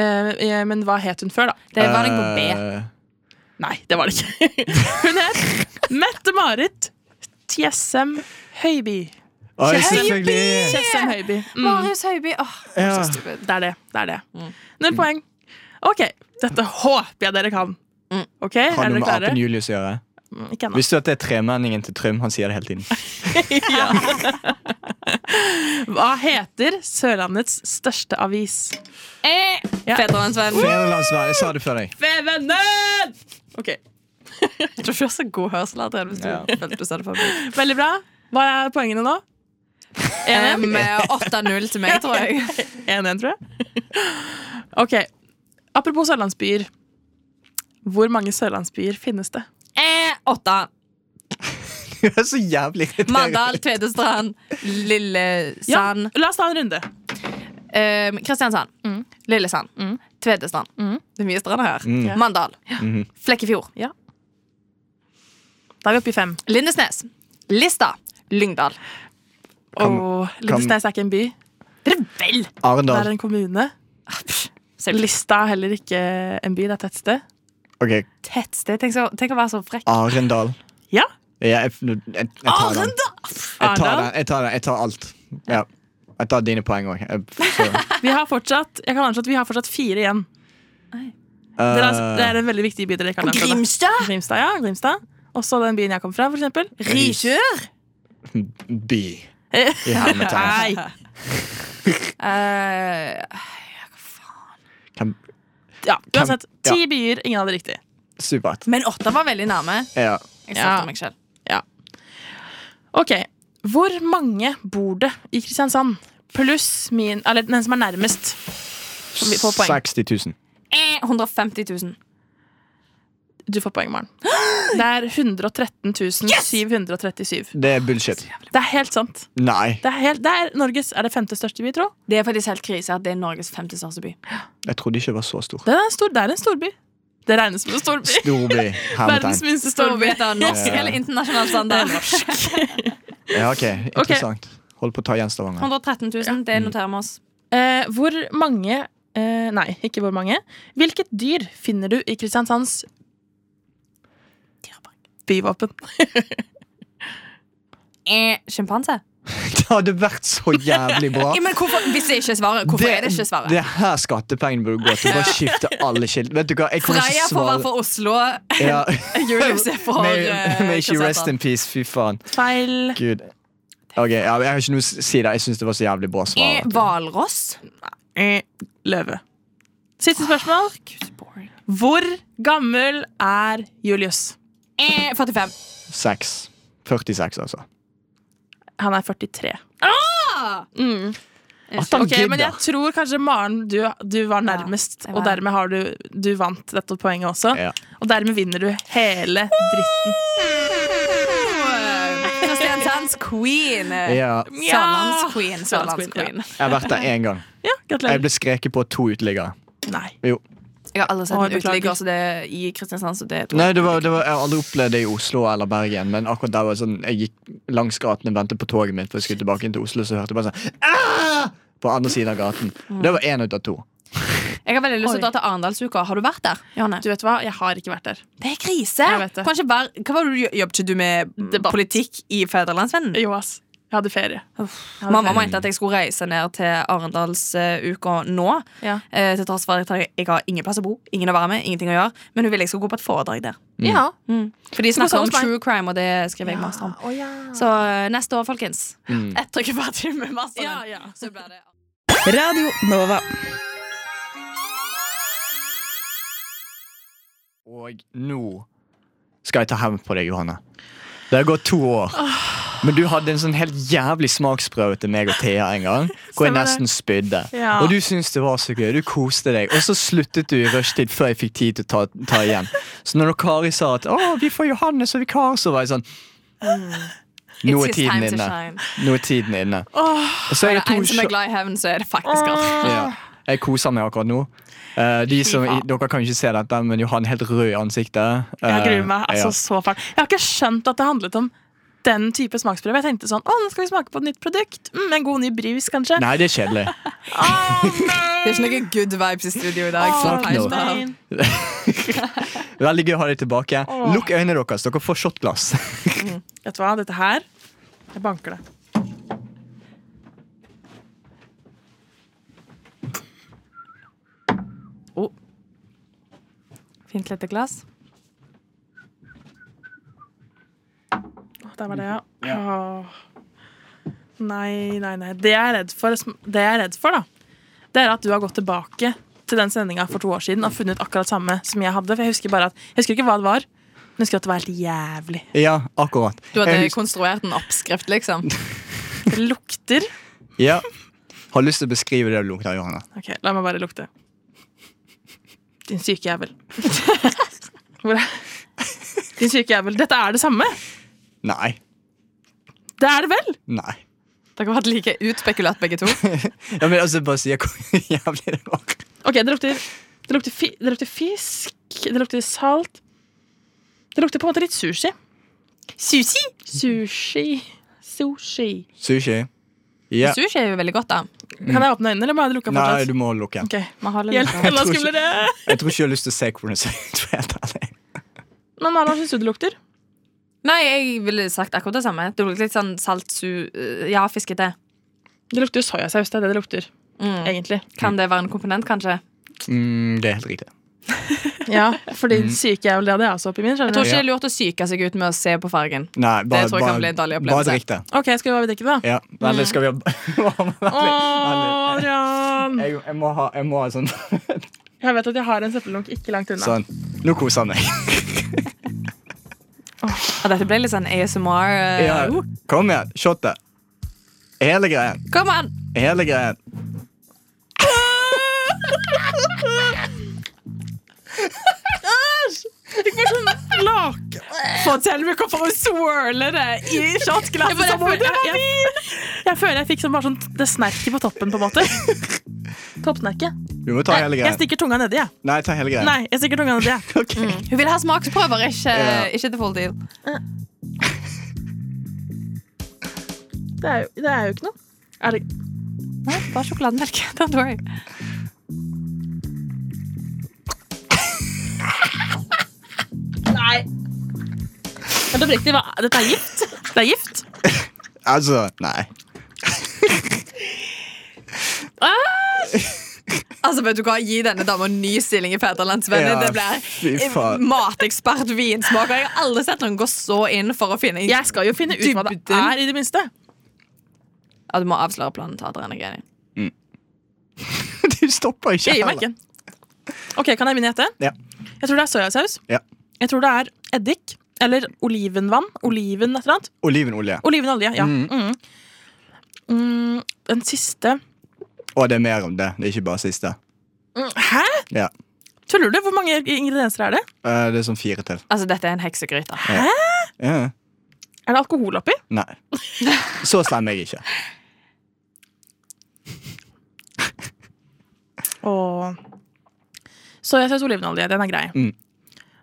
[SPEAKER 6] Eh, eh, men hva het hun før, da?
[SPEAKER 7] Det var den på B.
[SPEAKER 2] Eh,
[SPEAKER 6] Nei, det var det ikke. Hun het Mette-Marit Tjessem Høiby.
[SPEAKER 2] Oi, selvfølgelig!
[SPEAKER 6] Tjessem Høiby. Mm,
[SPEAKER 7] Marius Høiby. Åh,
[SPEAKER 2] Ja.
[SPEAKER 7] så stupid.
[SPEAKER 6] det er det. det, er det. Null poeng. Ok, dette håper jeg dere kan. Ok, Er
[SPEAKER 2] Har
[SPEAKER 6] dere
[SPEAKER 2] noe med
[SPEAKER 6] klare?
[SPEAKER 2] apen Julius å gjøre.
[SPEAKER 6] Mm, Ikke ennå.
[SPEAKER 2] Visste du at det er tremenningen til Trym? Han sier det hele tiden.
[SPEAKER 6] Hva heter Sørlandets største avis?
[SPEAKER 7] Eh, Fedrelandsvenn.
[SPEAKER 2] Fedrelandsvennen. Jeg sa det før deg.
[SPEAKER 6] Fevennen! Ok,
[SPEAKER 7] Jeg tror ikke du har så god hørsel Adrian, hvis du
[SPEAKER 2] Ja.
[SPEAKER 7] følte du sa det for meg.
[SPEAKER 6] Veldig bra. Hva er poengene nå? 1-1,
[SPEAKER 7] Em, eh, 8-0 til meg, tror jeg.
[SPEAKER 6] 1-1, tror jeg. Ok, Apropos sørlandsbyer. Hvor mange sørlandsbyer finnes det?
[SPEAKER 7] Eh, 8.
[SPEAKER 2] Du er så jævlig irriterende.
[SPEAKER 7] Mandal, Tvedestrand, Lillesand
[SPEAKER 6] La oss ta en runde.
[SPEAKER 7] Ehm, Kristiansand, Lillesand, Tvedestrand. Det er mye strander her. Mandal. Flekkefjord.
[SPEAKER 6] Da er vi oppe i fem.
[SPEAKER 7] Lindesnes. Lista. Lyngdal.
[SPEAKER 6] Og Lindesnes er ikke en by.
[SPEAKER 7] Det er vel!
[SPEAKER 6] Det er
[SPEAKER 2] Arendal.
[SPEAKER 6] en kommune.
[SPEAKER 7] Selv
[SPEAKER 6] Lista er heller ikke en by. Det er et tettsted.
[SPEAKER 2] Ok,
[SPEAKER 7] tettsted. Tenk, så- tenk å være så frekk.
[SPEAKER 2] Arendal.
[SPEAKER 6] Ja.
[SPEAKER 2] Ja, jeg, jeg, jeg, jeg tar den. Jeg tar, den. jeg tar den. Jeg tar alt. Ja. Jeg tar dine poeng òg.
[SPEAKER 6] Vi har fortsatt, jeg kan anslå at vi har fortsatt fire igjen. Det er, altså-
[SPEAKER 2] Eh.
[SPEAKER 6] det er en veldig viktig by dere ikke har nevnt.
[SPEAKER 7] Grimstad?
[SPEAKER 6] Grimstad, ja, Grimstad. Også den byen jeg kom fra, for eksempel.
[SPEAKER 7] Risør?
[SPEAKER 2] eh, By. I hermetegn.
[SPEAKER 6] Nei.
[SPEAKER 7] Eh,
[SPEAKER 2] Hvem-
[SPEAKER 6] Ja, uansett.
[SPEAKER 2] Ja.
[SPEAKER 6] Ti byer, ingen hadde riktig.
[SPEAKER 2] Supert.
[SPEAKER 7] Men åtte var veldig nærme.
[SPEAKER 2] Ja.
[SPEAKER 7] Jeg
[SPEAKER 6] Ja.
[SPEAKER 7] ja. meg selv.
[SPEAKER 6] Ok, hvor mange bor det i Kristiansand? Pluss min, eller den som er nærmest. Som vi får poeng.
[SPEAKER 2] 60 000.
[SPEAKER 7] Eh, 150 000.
[SPEAKER 6] Du får poeng, Maren. Det er 113 737.
[SPEAKER 2] Det er bullshit.
[SPEAKER 6] Det er helt sant.
[SPEAKER 2] Nei,
[SPEAKER 6] Det er, helt, det er Norges er det femte største by, tro.
[SPEAKER 7] Det er faktisk helt krise at det er Norges femte største by.
[SPEAKER 2] jeg trodde ikke det var så stor.
[SPEAKER 6] Det er en stor, det er en storby. Det regnes som en storby. liksom
[SPEAKER 2] Storby.
[SPEAKER 6] Verdens
[SPEAKER 2] Hermetegn.
[SPEAKER 6] minste
[SPEAKER 7] Storby
[SPEAKER 6] storby.
[SPEAKER 7] etter norsk
[SPEAKER 2] Ja.
[SPEAKER 7] eller internasjonal standard.
[SPEAKER 2] Ja, ok, Interessant. Hold på å ta igjen Stavanger.
[SPEAKER 7] 113 000, det noterer vi oss.
[SPEAKER 6] Eh, hvor mange eh, Nei, ikke hvor mange. Hvilket dyr finner du i Kristiansands byvåpen?
[SPEAKER 7] Eh, Sjimpanse?
[SPEAKER 2] Det hadde vært så jævlig bra.
[SPEAKER 7] Ja, men hvorfor, hvis det ikke er svaret, hvorfor er det ikke svaret?
[SPEAKER 2] det her skattepengene burde gå til. Bare skifte alle skilt. Vet du hva, jeg kommer ikke
[SPEAKER 7] Freya
[SPEAKER 2] til
[SPEAKER 7] får
[SPEAKER 2] å
[SPEAKER 7] være
[SPEAKER 2] svare.
[SPEAKER 7] fra Oslo.
[SPEAKER 2] Ja.
[SPEAKER 7] Julius er fra
[SPEAKER 2] May,
[SPEAKER 7] eh,
[SPEAKER 2] may she rest
[SPEAKER 7] Kristiansand.
[SPEAKER 2] in peace. Fy faen.
[SPEAKER 6] Feil.
[SPEAKER 2] Gud. Ok, ja, men Jeg har ikke noe å si der. Jeg syns det var så jævlig bra
[SPEAKER 7] Eh,
[SPEAKER 2] svar.
[SPEAKER 7] Hvalross?
[SPEAKER 6] Eh, Løve. Siste spørsmål. Hvor gammel er Julius?
[SPEAKER 7] Eh, 45.
[SPEAKER 2] 6. 46, altså.
[SPEAKER 6] Han er 43.
[SPEAKER 7] Ah!
[SPEAKER 2] At han
[SPEAKER 6] Ok, men jeg
[SPEAKER 2] gidder.
[SPEAKER 6] tror kanskje Maren, du, du var nærmest,
[SPEAKER 7] det var
[SPEAKER 6] og
[SPEAKER 7] jeg.
[SPEAKER 6] dermed har du, du vant dette poenget også.
[SPEAKER 2] Ja.
[SPEAKER 6] Og dermed vinner du hele dritten.
[SPEAKER 7] Kristiansands queen.
[SPEAKER 2] Ja,
[SPEAKER 7] Sørlandsqueen.
[SPEAKER 6] Sørlandsqueen,
[SPEAKER 7] Sørlandsqueen.
[SPEAKER 2] jeg har vært der én gang.
[SPEAKER 6] Ja,
[SPEAKER 2] Jeg
[SPEAKER 6] gratulerer.
[SPEAKER 2] ble skreket på av to uteliggere.
[SPEAKER 6] Nei.
[SPEAKER 2] Jo.
[SPEAKER 7] Jeg har aldri sett
[SPEAKER 6] Å,
[SPEAKER 7] en
[SPEAKER 6] beklager.
[SPEAKER 7] uteligger så det er i Kristiansand. Så det er
[SPEAKER 2] Nei, det var, det var, Jeg har aldri opplevd det i Oslo eller Bergen, men akkurat der var det sånn, jeg gikk langs gaten og ventet på toget mitt, for jeg skulle tilbake inn til Oslo, så hørte jeg bare sånn «Ah!» På andre siden av gaten. Det var én ut av to.
[SPEAKER 7] Jeg har veldig lyst til å dra til Arendalsuka. Har du vært der? Johanne?
[SPEAKER 6] Du vet hva, jeg har ikke vært der.
[SPEAKER 7] det er krise!
[SPEAKER 6] Jeg vet det.
[SPEAKER 7] Kanskje hver, hva var det du, jobbet ikke du med mm,
[SPEAKER 6] Debatt.
[SPEAKER 7] politikk i Fædrelandsvennen?
[SPEAKER 6] Jo, ass. Jeg hadde ferie. Jeg hadde
[SPEAKER 7] Mamma
[SPEAKER 6] ferie.
[SPEAKER 7] mente at jeg skulle reise ned til Arendalsuka nå.
[SPEAKER 6] Ja.
[SPEAKER 7] Eh, til tross for at jeg jeg har ingen plass å bo, ingen å være med, ingenting å gjøre. Men hun ville jeg skulle gå på et foredrag der.
[SPEAKER 2] Mm.
[SPEAKER 7] Mm.
[SPEAKER 6] Ja.
[SPEAKER 7] For de snakker
[SPEAKER 6] samme
[SPEAKER 7] om
[SPEAKER 6] som meg.
[SPEAKER 7] true crime, og det skriver jeg master om. Så eh, neste år, folkens.
[SPEAKER 2] Mm.
[SPEAKER 7] Etter jeg er ferdig med masteren,
[SPEAKER 6] Ja, ja.
[SPEAKER 7] så blir det
[SPEAKER 9] Radio Nova.
[SPEAKER 2] Og nå skal jeg ta hevn på deg, Johanne. Det har gått to år. Men du hadde en sånn helt jævlig smaksprøve til meg og Thea en gang. Hvor jeg
[SPEAKER 6] Stemmer det.
[SPEAKER 2] nesten spydde.
[SPEAKER 6] Ja.
[SPEAKER 2] Og du syntes det var så gøy. Du koste deg. Og så sluttet du i rushtid før jeg fikk tid til å ta, ta igjen. Så når Kari sa at 'Å, vi får Johannes og vikar', så var jeg sånn Nå er
[SPEAKER 7] Mm. It's his
[SPEAKER 2] tiden
[SPEAKER 7] time to
[SPEAKER 2] inne.
[SPEAKER 7] shine.
[SPEAKER 2] Nå er tiden inne. Og så er det
[SPEAKER 7] Er det
[SPEAKER 2] to
[SPEAKER 7] en som
[SPEAKER 2] sj-
[SPEAKER 7] er glad i hevn, så er det faktisk han.
[SPEAKER 2] ja. Jeg koser meg akkurat nå. Eh, de som, dere kan ikke se dette, men Johan er helt rød i ansiktet.
[SPEAKER 6] Jeg
[SPEAKER 2] Eh,
[SPEAKER 6] gruer meg altså
[SPEAKER 2] ja.
[SPEAKER 6] så fælt. Jeg har ikke skjønt at det handlet om den type smaksprøve. Jeg tenkte sånn, å, nå skal vi smake på et nytt produkt. Mm, en god ny brus, kanskje.
[SPEAKER 2] Nei, det er kjedelig.
[SPEAKER 7] Det er ikke noen good vibes i studio i dag.
[SPEAKER 6] Åh,
[SPEAKER 2] fuck
[SPEAKER 7] Nei,
[SPEAKER 2] no.
[SPEAKER 7] nei.
[SPEAKER 6] nei.
[SPEAKER 2] Veldig gøy å ha deg tilbake. Lukk øynene deres. Dere får shotglass.
[SPEAKER 6] Vet du hva, dette her, jeg banker det. Oh.
[SPEAKER 7] Fint lite glass.
[SPEAKER 6] Åh, Der var det, ja. Åh. Nei, nei, nei. Det jeg er redd for, det jeg er redd for da, det er at du har gått tilbake til den sendinga for to år siden og funnet akkurat samme som jeg hadde. For jeg husker bare at, jeg husker ikke hva det var, men jeg husker at det var helt jævlig.
[SPEAKER 2] Ja, akkurat.
[SPEAKER 7] Du hadde
[SPEAKER 2] Jeg hus-
[SPEAKER 7] konstruert en oppskrift, liksom.
[SPEAKER 6] Det lukter.
[SPEAKER 2] ja. Har lyst til å beskrive det du lukter, Johanna.
[SPEAKER 6] Ok, la meg bare lukte. Din syke jævel. Hvor er Din syke jævel. Dette er det samme!
[SPEAKER 2] Nei.
[SPEAKER 6] Det er det vel!
[SPEAKER 2] Nei.
[SPEAKER 7] Dere har vært like utspekulert, begge to.
[SPEAKER 2] Ja, men altså, bare si hvor jævlig det var.
[SPEAKER 6] Ok, det lukter, det lukter, fi, det lukter fisk, det lukter salt Det lukter på en måte litt sushi.
[SPEAKER 7] Sushi?
[SPEAKER 6] Sushi. Sushi.
[SPEAKER 2] Sushi. Ja.
[SPEAKER 7] Sushi er jo veldig godt, da.
[SPEAKER 6] Kan jeg åpne øynene, eller må jeg lukke
[SPEAKER 2] Mm. Nei,
[SPEAKER 6] fortsatt?
[SPEAKER 2] du må lukke.
[SPEAKER 6] Ok,
[SPEAKER 7] Man har litt
[SPEAKER 6] Hjelp, enda
[SPEAKER 2] tror ikke-
[SPEAKER 6] skumlere!
[SPEAKER 2] Jeg tror ikke jeg har lyst til å se hvordan det ser ut. for å være helt ærlig.
[SPEAKER 6] Men hva syns du det lukter?
[SPEAKER 7] Nei, jeg ville sagt akkurat det samme. Det lukter litt sånn salt su... eh, Ja, fiskete.
[SPEAKER 6] Det lukter jo soyasaus. Det er det det lukter,
[SPEAKER 7] Mm.
[SPEAKER 6] egentlig.
[SPEAKER 7] Kan det være en komponent, kanskje?
[SPEAKER 2] Mm, det er helt riktig.
[SPEAKER 6] Ja, for
[SPEAKER 2] Mm.
[SPEAKER 6] din syke jævel, det hadde jeg også oppi min.
[SPEAKER 7] Jeg
[SPEAKER 6] skjønner
[SPEAKER 7] tror
[SPEAKER 6] du?
[SPEAKER 7] ikke det er lurt å psyke seg ut med å se på fargen.
[SPEAKER 2] Nei, bare,
[SPEAKER 7] tror jeg kan
[SPEAKER 2] bare,
[SPEAKER 7] bli en dårlig
[SPEAKER 2] bare
[SPEAKER 7] opplevelse.
[SPEAKER 2] drikk det.
[SPEAKER 6] Ok, skal vi bare drikke det, da?
[SPEAKER 2] Ja.
[SPEAKER 6] Mm.
[SPEAKER 2] Eller skal vi ha Vær litt-
[SPEAKER 6] Å,
[SPEAKER 2] vær litt.
[SPEAKER 6] Adrian!
[SPEAKER 2] Jeg, jeg må ha jeg må ha sånn.
[SPEAKER 6] Jeg vet at jeg har en søppeldunk ikke langt unna.
[SPEAKER 2] sånn. Nå koser jeg meg.
[SPEAKER 7] Og dette ble litt sånn ASMR. eh,
[SPEAKER 2] Ja. Kom igjen. Shotet. Hele greien.
[SPEAKER 7] Kom an!
[SPEAKER 2] Hele greien.
[SPEAKER 6] sånn Fortell meg hvorfor hun swirler det i shotglasset som om det var vin! Jeg føler jeg fikk sånn, bare sånn det snerket på toppen, på en måte. Toppsnerket.
[SPEAKER 2] Du må ta hele
[SPEAKER 6] Jeg
[SPEAKER 2] greien.
[SPEAKER 6] stikker tunga nedi, jeg.
[SPEAKER 2] Nei, ta hele greien.
[SPEAKER 6] Nei, Mm. jeg stikker tunga nedi. jeg.
[SPEAKER 2] Ok.
[SPEAKER 7] Hun vil ha smaksprøver, ikke,
[SPEAKER 2] Ja.
[SPEAKER 7] ikke til full deal.
[SPEAKER 6] Det er jo, det er jo ikke noe. Er det,
[SPEAKER 7] Nei, bare sjokolademelk. Don't worry.
[SPEAKER 6] men det riktig, hva, dette er gift. Det er gift.
[SPEAKER 2] Altså, nei.
[SPEAKER 6] Ah!
[SPEAKER 7] Altså, vet du hva? Gi denne dama en ny stilling i Fædrelandsvennen.
[SPEAKER 2] Ja,
[SPEAKER 7] det
[SPEAKER 2] fy
[SPEAKER 7] blir eh,
[SPEAKER 2] faen.
[SPEAKER 7] matekspert, vinsmaker. Jeg har aldri sett noen gå så inn for å finne
[SPEAKER 6] Jeg skal jo finne ut hva det
[SPEAKER 7] Dybden.
[SPEAKER 6] er, i det minste.
[SPEAKER 7] Ja, Du må avsløre planen til Adrian og Geni.
[SPEAKER 2] Du stopper ikke
[SPEAKER 6] Jeg gir meg
[SPEAKER 2] heller.
[SPEAKER 6] ikke. Ok, Kan jeg begynne å gjette?
[SPEAKER 2] Ja.
[SPEAKER 6] Jeg tror det er soyasaus.
[SPEAKER 2] Ja.
[SPEAKER 6] Jeg tror det er eddik. Eller olivenvann. Oliven et eller annet.
[SPEAKER 2] Olivenolje.
[SPEAKER 6] Olivenolje, ja.
[SPEAKER 2] Mm.
[SPEAKER 6] Mm. Mm, den siste
[SPEAKER 2] Og det er mer om det. Det er ikke bare siste.
[SPEAKER 6] Mm, Hæ?
[SPEAKER 2] Ja.
[SPEAKER 6] Tuller du? Hvor mange ingredienser er det?
[SPEAKER 2] Eh, Det er sånn fire til.
[SPEAKER 7] Altså, Dette er en heksegryte.
[SPEAKER 2] Ja.
[SPEAKER 6] Er det alkohol oppi?
[SPEAKER 2] Nei. Så slem er jeg ikke.
[SPEAKER 6] Og soyasaus og olivenolje. Den er grei.
[SPEAKER 2] Mm.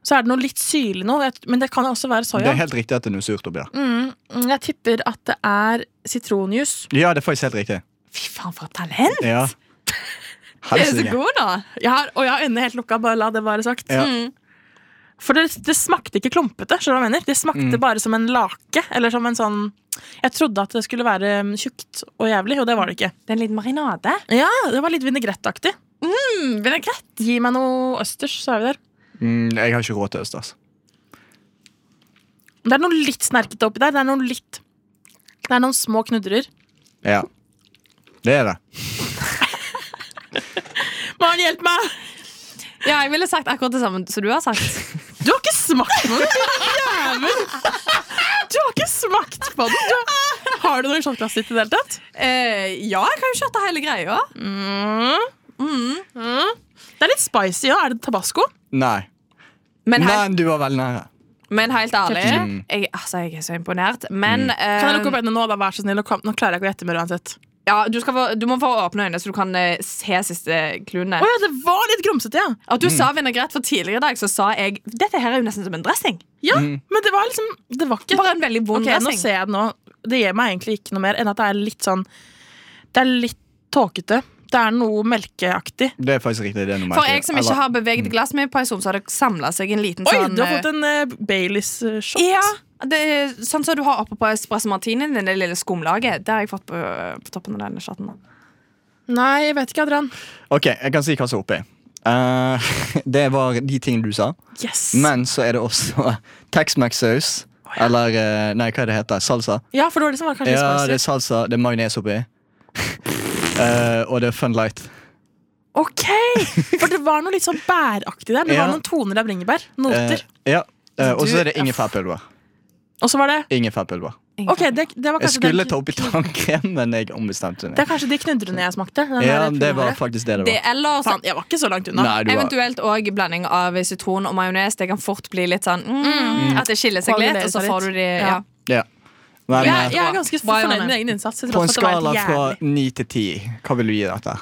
[SPEAKER 6] Så er det noe litt syrlig nå, jeg- men det kan jo også være
[SPEAKER 2] Det
[SPEAKER 6] soya.
[SPEAKER 2] er helt riktig at det er noe surt oppi der.
[SPEAKER 6] Mm, mm, jeg tipper at det er sitronjuice.
[SPEAKER 2] Ja, det er faktisk helt riktig.
[SPEAKER 7] Fy faen, for et talent!
[SPEAKER 2] Ja.
[SPEAKER 7] Du er så
[SPEAKER 2] Helsike.
[SPEAKER 7] god nå!
[SPEAKER 6] Jeg har, og jeg har øynene helt lukka, bare la det være sagt. Mm.
[SPEAKER 2] Ja.
[SPEAKER 6] For det, det smakte ikke klumpete. skjønner du hva jeg mener? Det smakte
[SPEAKER 2] Mm.
[SPEAKER 6] bare som en lake. eller som en sånn... Jeg trodde at det skulle være mm, tjukt og jævlig, og det var det ikke.
[SPEAKER 7] Det er en liten marinade.
[SPEAKER 6] Ja, Det var litt vinegrettaktig.
[SPEAKER 7] Mm, Vinaigrette.
[SPEAKER 6] Gi meg noe østers, så er vi der.
[SPEAKER 2] Mm, jeg har ikke råd til østers.
[SPEAKER 6] Det er noe litt snerkete oppi der. Det er noen litt... Det er noen små knudrer.
[SPEAKER 2] Ja. Det er det.
[SPEAKER 6] Maren, hjelp meg!
[SPEAKER 7] Ja, jeg ville sagt akkurat det samme som du har sagt.
[SPEAKER 6] Du har ikke smakt på den, din jævel! Du har ikke smakt på den! Du. Har du noe shotglass ditt i det hele tatt?
[SPEAKER 7] Eh, ja, jeg kan jo shotte hele greia.
[SPEAKER 6] Det er litt spicy, ja. Er det tabasco?
[SPEAKER 2] Nei.
[SPEAKER 7] Men, hei,
[SPEAKER 2] Men du var veldig nære.
[SPEAKER 7] men helt ærlig,
[SPEAKER 2] Mm.
[SPEAKER 7] jeg, altså, jeg er så imponert. Men eh,
[SPEAKER 6] Kan jeg lukke opp øynene nå, da? Vær så snill. og kom- Nå klarer jeg ikke å gjette mer uansett.
[SPEAKER 7] ja, du, skal få, du må få åpne øynene, så du kan eh, se siste clouene.
[SPEAKER 6] Å ja, det var litt grumsete, ja.
[SPEAKER 7] At du sa vinaigrette for tidligere i dag, så sa jeg dette her er jo nesten som en dressing.
[SPEAKER 6] Ja,
[SPEAKER 2] Mm.
[SPEAKER 6] Men det var liksom Det var ikke
[SPEAKER 7] Bare en veldig vond
[SPEAKER 6] Ok, nå
[SPEAKER 7] dressing.
[SPEAKER 6] ser jeg det nå. Det gir meg egentlig ikke noe mer enn at det er litt sånn Det er litt tåkete. Det er noe melkeaktig.
[SPEAKER 2] Det er faktisk riktig. det er nummer
[SPEAKER 7] For
[SPEAKER 2] fire.
[SPEAKER 7] jeg som ikke
[SPEAKER 2] Eller-
[SPEAKER 7] har beveget glasset mitt på en stund, så har det samla seg en liten
[SPEAKER 6] Mm. Oi,
[SPEAKER 7] sånn
[SPEAKER 6] du har
[SPEAKER 7] eh,
[SPEAKER 6] fått en eh, Baileys-shot.
[SPEAKER 7] Ja, det er sånn som du har oppe på espresso martinien, det lille skumlaget. Det har jeg fått på, på toppen av denne chatten. da.
[SPEAKER 6] Nei, jeg vet ikke, Adrian.
[SPEAKER 2] Ok, jeg kan si hva som er oppi. Eh, det var de tingene du sa.
[SPEAKER 6] Yes.
[SPEAKER 2] Men så er det også Tex-Mex-saus. Eller eh, nei, hva er det heter Salsa.
[SPEAKER 6] Ja, for det var det som var kanskje litt
[SPEAKER 2] Ja, det er
[SPEAKER 6] spicy.
[SPEAKER 2] salsa. Det er majones oppi. Eh, og det er Fun Light.
[SPEAKER 6] Ok! For det var noe litt sånn bæraktig der. Det
[SPEAKER 2] Ja.
[SPEAKER 6] var noen toner av bringebær.
[SPEAKER 2] Eh,
[SPEAKER 6] Noter.
[SPEAKER 2] ja. Eh, og så
[SPEAKER 6] Du-
[SPEAKER 2] er det ingefærpulver.
[SPEAKER 6] Og så var det
[SPEAKER 2] Ingefærpulver.
[SPEAKER 6] Ok, det, det var
[SPEAKER 2] Eh, Jeg
[SPEAKER 6] kanskje den-
[SPEAKER 2] skulle ta oppi tannkrem, men jeg ombestemte
[SPEAKER 6] Det
[SPEAKER 2] meg.
[SPEAKER 6] er kanskje de knudrene jeg smakte. den
[SPEAKER 2] Ja,
[SPEAKER 6] der
[SPEAKER 2] det var
[SPEAKER 6] pulveret.
[SPEAKER 2] faktisk det det
[SPEAKER 7] Det
[SPEAKER 2] var.
[SPEAKER 7] eller så
[SPEAKER 6] Faen, Sånn, jeg var ikke så langt unna.
[SPEAKER 2] Nei, du var
[SPEAKER 7] Eventuelt òg blanding av sitron og majones. Det kan fort bli litt sånn mm, At det skiller seg litt,
[SPEAKER 6] Kvalulerer
[SPEAKER 7] og så
[SPEAKER 6] seg
[SPEAKER 7] får du
[SPEAKER 6] litt.
[SPEAKER 7] de ja.
[SPEAKER 6] Ja.
[SPEAKER 2] Ja. Men
[SPEAKER 6] Jeg,
[SPEAKER 2] eh,
[SPEAKER 6] jeg er ganske
[SPEAKER 7] Bra,
[SPEAKER 6] fornøyd
[SPEAKER 7] Johanne.
[SPEAKER 6] med egen innsats. til
[SPEAKER 2] på en
[SPEAKER 6] tross for at det var
[SPEAKER 2] skala
[SPEAKER 6] helt
[SPEAKER 2] fra
[SPEAKER 6] jævlig.
[SPEAKER 2] ni til ti, hva vil du gi dette?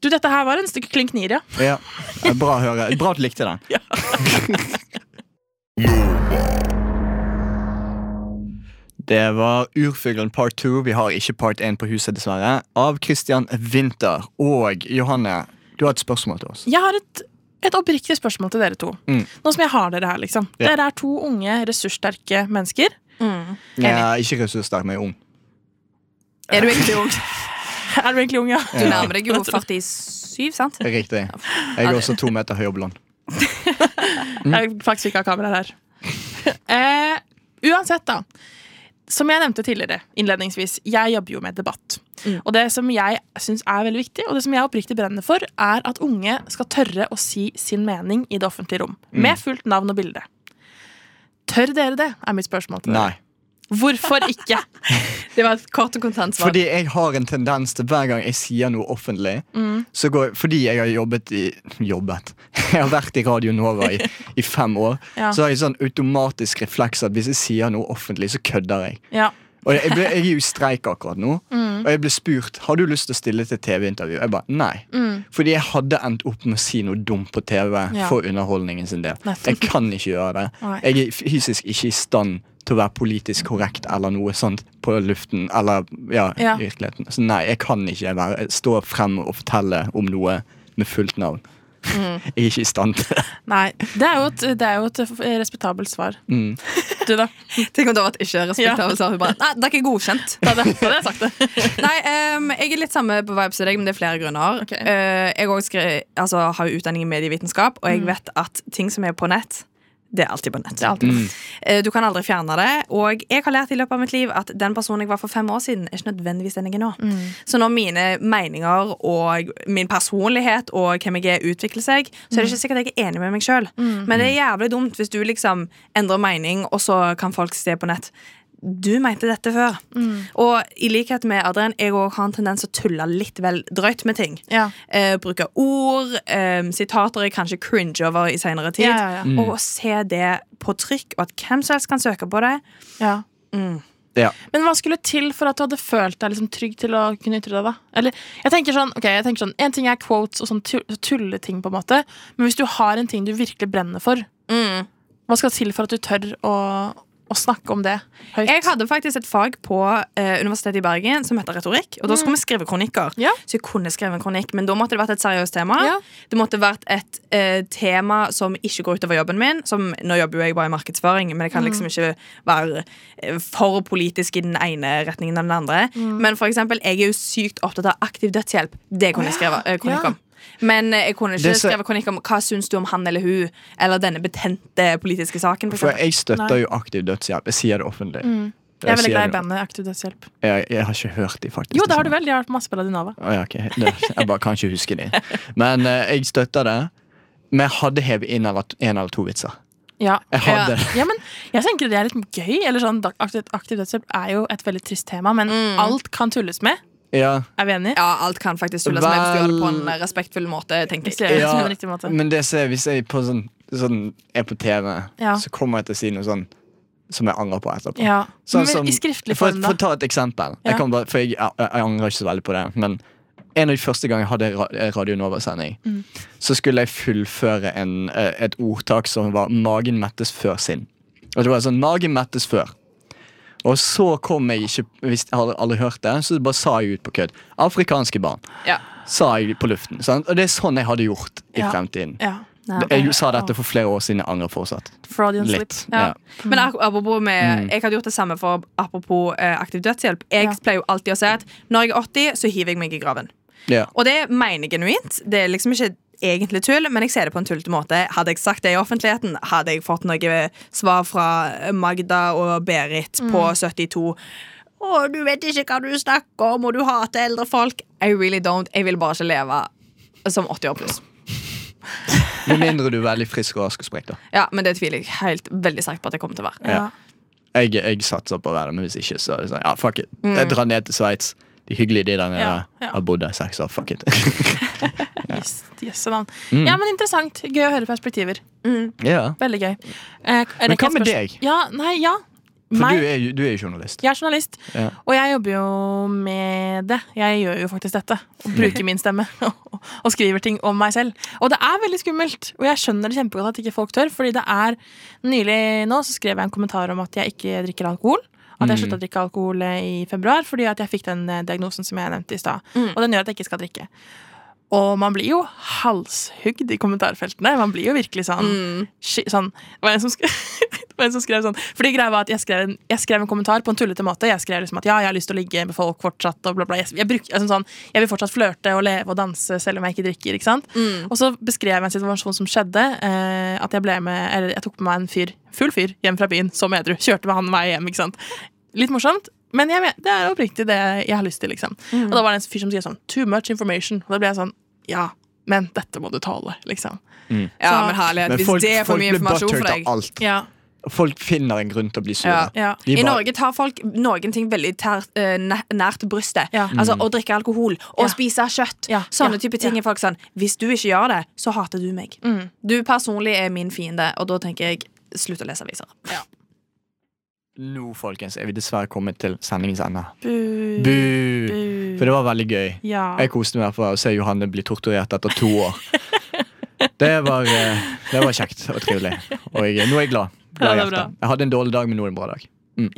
[SPEAKER 6] Du, Dette her var en stykke klink nier, ja.
[SPEAKER 2] Ja. Eh, Bra å høre. Bra at du likte den. Det var Urfuglen part 2. Vi har ikke part 1 på huset, dessverre. Av Christian Winther. Og Johanne, du har et spørsmål til oss.
[SPEAKER 6] Jeg har et, et oppriktig spørsmål til dere to.
[SPEAKER 2] Mm.
[SPEAKER 6] Nå som jeg har dere her, liksom.
[SPEAKER 2] Ja.
[SPEAKER 6] Dere er to unge, ressurssterke mennesker.
[SPEAKER 2] Jeg er ikke ressurssterk, men jeg er ung.
[SPEAKER 7] Er du egentlig ung?
[SPEAKER 6] Er du egentlig ung, ja?
[SPEAKER 7] Du nærmer deg jo 47, sant?
[SPEAKER 2] Riktig. Jeg er også to meter høy og blond. Mm.
[SPEAKER 6] Jeg faktisk ikke har kamera her. eh, uansett, da. som jeg nevnte tidligere, innledningsvis, jeg jobber jo med debatt.
[SPEAKER 2] Mm.
[SPEAKER 6] Og det som jeg syns er veldig viktig, og det som jeg oppriktig brenner for, er at unge skal tørre å si sin mening i det offentlige rom.
[SPEAKER 2] Mm.
[SPEAKER 6] Med fullt navn og bilde. Tør dere det, er mitt spørsmål til dere.
[SPEAKER 2] Nei.
[SPEAKER 6] Hvorfor ikke?
[SPEAKER 7] Det var et kort og kontant svar.
[SPEAKER 2] Fordi jeg har en tendens til hver gang jeg sier noe offentlig så går, Fordi jeg har jobbet i Jobbet. Jeg har vært i Radio Nova i, i fem år.
[SPEAKER 6] Ja.
[SPEAKER 2] Så har jeg sånn automatisk refleks at hvis jeg sier noe offentlig, så kødder jeg.
[SPEAKER 6] Ja.
[SPEAKER 2] Og jeg, ble, jeg er jo i streik akkurat nå,
[SPEAKER 6] Mm.
[SPEAKER 2] og jeg ble spurt Har du lyst til å stille til TV-intervju. Jeg bare nei. Fordi jeg hadde endt opp med å si noe dumt på TV
[SPEAKER 6] Mm. Ja.
[SPEAKER 2] for underholdningen sin del.
[SPEAKER 6] Nettopp.
[SPEAKER 2] Jeg kan ikke gjøre det.
[SPEAKER 6] Nei.
[SPEAKER 2] Jeg er fysisk ikke i stand til å være politisk korrekt eller noe sånt på luften. Eller ja,
[SPEAKER 6] Ja.
[SPEAKER 2] i virkeligheten. Så nei, jeg kan ikke være, stå frem og fortelle om noe med fullt navn.
[SPEAKER 6] Mm.
[SPEAKER 2] Jeg er ikke i stand til det.
[SPEAKER 6] Nei. Det er jo et, det er jo et eh, respektabelt svar.
[SPEAKER 2] Mm.
[SPEAKER 6] Du, da?
[SPEAKER 7] Tenk om det var et ikke-respektabelt svar. Hun bare, Nei, det er ikke godkjent.
[SPEAKER 6] Da hadde da hadde jeg sagt det.
[SPEAKER 7] Nei, em, jeg er litt samme på vibes som deg, men det er flere grunner.
[SPEAKER 6] Ok.
[SPEAKER 7] Eh, jeg også skre- altså, har jo utdanning i medievitenskap, og jeg vet at ting som er på nett, det er alltid på nett. Eh, Du kan aldri fjerne det. Og jeg har lært i løpet av mitt liv at den personen jeg var for fem år siden, er ikke nødvendigvis den jeg er nå. Så når mine meninger og min personlighet og hvem jeg er, utvikler seg, så er det ikke sikkert jeg er enig med meg sjøl. Men det er jævlig dumt hvis du liksom endrer mening, og så kan folk se på nett du mente dette før. Og i likhet med Adrian, jeg også har en tendens å tulle litt vel drøyt med ting.
[SPEAKER 6] Ja.
[SPEAKER 7] Eh, bruke ord, eh, sitater jeg kanskje cringer over i senere tid.
[SPEAKER 6] Ja, ja, ja.
[SPEAKER 7] Og å se det på trykk, og at hvem som helst kan søke på det.
[SPEAKER 6] Ja.
[SPEAKER 2] Ja.
[SPEAKER 6] Men hva skulle til for at du hadde følt deg liksom trygg til å kunne ytre deg? da? Eller, jeg tenker sånn, ok, jeg tenker sånn, En ting er quotes og sånn tu- tulleting, på en måte, men hvis du har en ting du virkelig brenner for, Mm. hva skal til for at du tør å, å snakke om det høyt?
[SPEAKER 7] Jeg hadde faktisk et fag på eh, Universitetet i Bergen som heter retorikk. Og da skulle vi skrive kronikker.
[SPEAKER 6] Mm. Ja.
[SPEAKER 7] Så jeg kunne skrive en kronikk, men da måtte det vært et seriøst tema.
[SPEAKER 6] Ja.
[SPEAKER 7] Det måtte vært et eh, tema som ikke går utover jobben min. Som, nå jobber jo jeg bare i markedsføring, men jeg kan
[SPEAKER 6] Mm.
[SPEAKER 7] liksom ikke være eh, for politisk i den ene retningen eller den andre.
[SPEAKER 6] Mm.
[SPEAKER 7] Men for eksempel, jeg er jo sykt opptatt av aktiv dødshjelp. Det kunne jeg skrevet eh, kronikk
[SPEAKER 6] Ja.
[SPEAKER 7] om. Men eh, jeg kunne
[SPEAKER 2] Det
[SPEAKER 7] ikke
[SPEAKER 2] er så-
[SPEAKER 7] skrevet kronikk om hva syns du om han eller hun, eller denne betente politiske saken. For
[SPEAKER 2] For
[SPEAKER 7] eksempel.
[SPEAKER 2] jeg støtter
[SPEAKER 6] Nei. Mm.
[SPEAKER 2] jo aktiv dødshjelp. Jeg sier det offentlig.
[SPEAKER 6] jeg er veldig glad i
[SPEAKER 2] band.
[SPEAKER 6] bandet Aktiv Dødshjelp.
[SPEAKER 2] Jeg, jeg har ikke hørt de faktisk.
[SPEAKER 6] Jo, det har
[SPEAKER 2] sånn.
[SPEAKER 6] du vel. De har vært masse på Radionova.
[SPEAKER 2] Å, ja, ok. Det, jeg bare kan ikke huske de. Men eh, jeg støtter det. Men jeg hadde hevet inn eller, en eller to vitser.
[SPEAKER 6] Ja.
[SPEAKER 2] Jeg hadde det.
[SPEAKER 6] Ja, men jeg tenker det er litt gøy. eller sånn, da- Aktiv, aktiv dødshjelp er jo et veldig trist tema, men alt kan tulles med.
[SPEAKER 2] Ja,
[SPEAKER 6] Er vi enige?
[SPEAKER 7] Ja, alt kan faktisk tulles med hvis du gjør det på en
[SPEAKER 2] Vel-
[SPEAKER 7] respektfull måte. tenker
[SPEAKER 6] Hvis du gjør
[SPEAKER 7] jeg
[SPEAKER 6] det på en riktig
[SPEAKER 2] ja
[SPEAKER 6] måte.
[SPEAKER 2] men det ser jeg, hvis jeg på sånn, sånn, er på TV,
[SPEAKER 6] Ja.
[SPEAKER 2] så kommer jeg til å si noe sånn som jeg angrer på etterpå.
[SPEAKER 6] Ja.
[SPEAKER 2] Sånn
[SPEAKER 6] men
[SPEAKER 2] som-
[SPEAKER 6] i skriftlig
[SPEAKER 2] for,
[SPEAKER 6] form, da.
[SPEAKER 2] for å ta et eksempel.
[SPEAKER 6] Ja.
[SPEAKER 2] Jeg kan bare, for jeg, jeg, jeg angrer ikke så veldig på det. Men en av de første gangene jeg hadde ra- Radio Nova-sending,
[SPEAKER 6] Mm.
[SPEAKER 2] så skulle jeg fullføre en, eh, et ordtak som var 'magen mettes før sin'. Og det var sånn 'magen mettes før'. Og så kom jeg ikke Hvis jeg hadde aldri hørt det, så bare sa jeg ut på kødd. Afrikanske barn.
[SPEAKER 7] Ja.
[SPEAKER 2] Sa jeg på luften. Sant? Og det er sånn jeg hadde gjort i
[SPEAKER 6] Ja.
[SPEAKER 2] fremtiden.
[SPEAKER 6] Ja.
[SPEAKER 2] Jeg sa dette for flere år siden. Jeg angrer fortsatt.
[SPEAKER 6] Fraudian slip.
[SPEAKER 2] Litt.
[SPEAKER 7] Ja.
[SPEAKER 2] Ja. Mm.
[SPEAKER 7] Men ak- apropos med, jeg hadde gjort det samme for apropos eh, aktiv dødshjelp. Jeg
[SPEAKER 6] Ja.
[SPEAKER 7] pleier jo alltid å si at når jeg er 80, så hiver jeg meg i graven.
[SPEAKER 2] Ja.
[SPEAKER 7] Og det mener jeg genuint. Det er liksom ikke egentlig tull, men jeg ser det på en tullete måte. Hadde jeg sagt det i offentligheten, hadde jeg fått noe svar fra eh, Magda og Berit på
[SPEAKER 6] Mm.
[SPEAKER 7] 72. Å, du vet ikke hva du snakker om, og du hater eldre folk. I really don't. Jeg vil bare ikke leve som 80 år pluss.
[SPEAKER 2] Med mindre du er veldig frisk og rask og sprek, da.
[SPEAKER 7] Ja, men det tviler jeg helt veldig sterkt på at jeg kommer til å være.
[SPEAKER 2] Ja. Jeg, jeg satser på å være det, men hvis ikke, så er det sånn, ja, fuck it.
[SPEAKER 7] Mm.
[SPEAKER 2] Jeg drar ned til Sveits. De hyggelige de der nede.
[SPEAKER 6] Ja, ja.
[SPEAKER 2] Har bodd der i seks år. Fuck it.
[SPEAKER 6] Yes, yes, navn.
[SPEAKER 2] Mm.
[SPEAKER 6] Ja, men interessant. Gøy å høre perspektiver.
[SPEAKER 2] ja.
[SPEAKER 6] Veldig gøy. Eh, er det
[SPEAKER 2] Men hva
[SPEAKER 6] ikke et
[SPEAKER 2] med
[SPEAKER 6] spørsmål-
[SPEAKER 2] deg?
[SPEAKER 6] Ja, nei, ja.
[SPEAKER 2] For
[SPEAKER 6] Meg?
[SPEAKER 2] du er, jo, du er jo journalist.
[SPEAKER 6] Jeg er journalist,
[SPEAKER 2] Ja.
[SPEAKER 6] og jeg jobber jo med det. Jeg gjør jo faktisk dette. Og
[SPEAKER 2] Mm.
[SPEAKER 6] bruker min stemme og, og skriver ting om meg selv. Og det er veldig skummelt, og jeg skjønner det kjempegodt at ikke folk tør. Fordi det er nylig nå så skrev jeg en kommentar om at jeg ikke drikker alkohol. At
[SPEAKER 2] Mm.
[SPEAKER 6] jeg slutta å drikke alkohol eh, i februar fordi at jeg fikk den eh, diagnosen som jeg nevnte i stad.
[SPEAKER 2] Mm.
[SPEAKER 6] Og den gjør at jeg ikke skal drikke. Og man blir jo halshugd i kommentarfeltene. Man blir jo virkelig sånn, sky- sånn Det var en som skrev, det var en som skrev sånn Fordi greia var at jeg skrev, en, jeg skrev en kommentar på en tullete måte. Jeg skrev liksom at ja, jeg har lyst til å ligge med folk fortsatt. Og bla bla. Jeg, jeg, bruk, jeg, sånn, sånn, jeg vil fortsatt flørte og leve og danse selv om jeg ikke drikker. Ikke sant? Og så beskrev jeg en situasjon som skjedde. Eh, at jeg, ble med, eller, jeg tok med meg en fyr, full fyr hjem fra byen som edru. Kjørte med han meg hjem. ikke sant litt morsomt. Men jeg, men- det er oppriktig det jeg har lyst til. liksom Og da var det en fyr som sier sånn Too much information. Og da ble jeg sånn Ja, men dette må du tåle. liksom
[SPEAKER 7] Ja, men herlighet,
[SPEAKER 2] Men
[SPEAKER 7] hvis
[SPEAKER 2] folk,
[SPEAKER 7] det er for
[SPEAKER 2] folk
[SPEAKER 7] mye
[SPEAKER 2] blir
[SPEAKER 7] informasjon
[SPEAKER 2] butthurt
[SPEAKER 7] for
[SPEAKER 2] av
[SPEAKER 7] deg
[SPEAKER 2] alt.
[SPEAKER 6] Ja,
[SPEAKER 2] Folk finner en grunn til å bli sure.
[SPEAKER 7] Ja.
[SPEAKER 6] ja.
[SPEAKER 2] De
[SPEAKER 7] I
[SPEAKER 2] bare-
[SPEAKER 7] Norge tar folk noen ting veldig ter, eh, næ- nært brystet.
[SPEAKER 6] Ja.
[SPEAKER 7] Altså
[SPEAKER 2] Mm.
[SPEAKER 7] Å drikke alkohol, å
[SPEAKER 6] Ja.
[SPEAKER 7] spise kjøtt.
[SPEAKER 6] Ja.
[SPEAKER 7] Sånne
[SPEAKER 6] Ja.
[SPEAKER 7] type ting er folk sånn Hvis du ikke gjør det, så hater du meg. Du personlig er min fiende, og da tenker jeg slutt å lese aviser.
[SPEAKER 2] Nå, folkens, er vi dessverre kommet til sendingens ende.
[SPEAKER 7] Mm.
[SPEAKER 2] Bu. For det var veldig gøy.
[SPEAKER 6] Ja.
[SPEAKER 2] Jeg koste meg for å se Johanne bli torturert etter to år. Det var, eh, det var kjekt og trivelig. Og jeg, nå er jeg glad. glad i
[SPEAKER 6] Ja, det er bra.
[SPEAKER 2] hjertet. jeg hadde en dårlig dag, men nå er det en bra dag.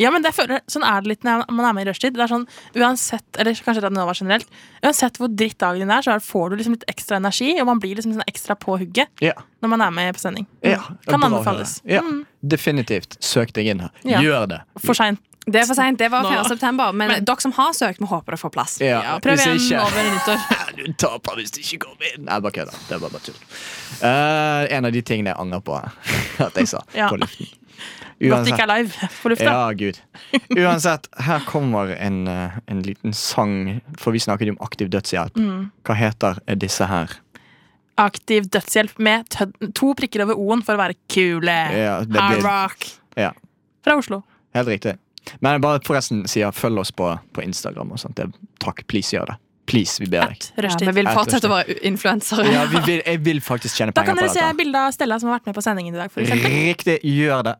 [SPEAKER 6] Ja, men det føler, sånn er det litt når man er med i rushtid. Det er sånn, uansett, eller kanskje det er Nova generelt Uansett hvor dritt dagen din er, så er- får du liksom litt ekstra energi, og man blir liksom sånn ekstra på hugget
[SPEAKER 2] Ja,
[SPEAKER 6] når man er med på sending.
[SPEAKER 2] ja, det er
[SPEAKER 6] Mm. Kan
[SPEAKER 2] bra å høre.
[SPEAKER 6] anbefales. Mm.
[SPEAKER 2] Ja, definitivt. Søk deg inn her.
[SPEAKER 6] Ja.
[SPEAKER 2] Gjør det.
[SPEAKER 6] For seint.
[SPEAKER 7] Det er for seint. Det var 4.
[SPEAKER 6] Nå.
[SPEAKER 7] september. Men, dere som har søkt, vi håper det får plass.
[SPEAKER 2] Ja,
[SPEAKER 6] Prøv
[SPEAKER 2] hvis
[SPEAKER 6] igjen
[SPEAKER 2] ikke-
[SPEAKER 6] over nyttår.
[SPEAKER 2] Du taper hvis du ikke kommer inn. Nei, bare kødda. Det er bare, bare tull. Eh, en av de tingene jeg angrer på at jeg sa
[SPEAKER 6] Ja.
[SPEAKER 2] på luften.
[SPEAKER 6] Godt det ikke er live på lufta.
[SPEAKER 2] Ja, gud. Uansett, her kommer en, eh, en liten sang, for vi snakket jo om aktiv dødshjelp.
[SPEAKER 6] Mm.
[SPEAKER 2] Hva heter eh, disse her?
[SPEAKER 6] Aktiv dødshjelp med tød- to prikker over O-en for å være kule.
[SPEAKER 2] Ja, det
[SPEAKER 6] Hard
[SPEAKER 2] blir-
[SPEAKER 6] rock.
[SPEAKER 2] Ja,
[SPEAKER 6] Fra Oslo.
[SPEAKER 2] helt riktig. Men jeg bare forresten sier følg oss på, på Instagram og sånt. Det, takk, please gjør det. Please, vi ber deg.
[SPEAKER 7] Ja,
[SPEAKER 6] Rushtid.
[SPEAKER 7] vi vil
[SPEAKER 2] Rett og
[SPEAKER 7] fortsette å være u- influensere.
[SPEAKER 2] Ja, vi vil, jeg vil faktisk tjene
[SPEAKER 6] da kan
[SPEAKER 2] penger på
[SPEAKER 6] dere se
[SPEAKER 2] dette.
[SPEAKER 6] bilde av Stella som har vært med på sendingen i dag. For eksempel.
[SPEAKER 2] Riktig, gjør det.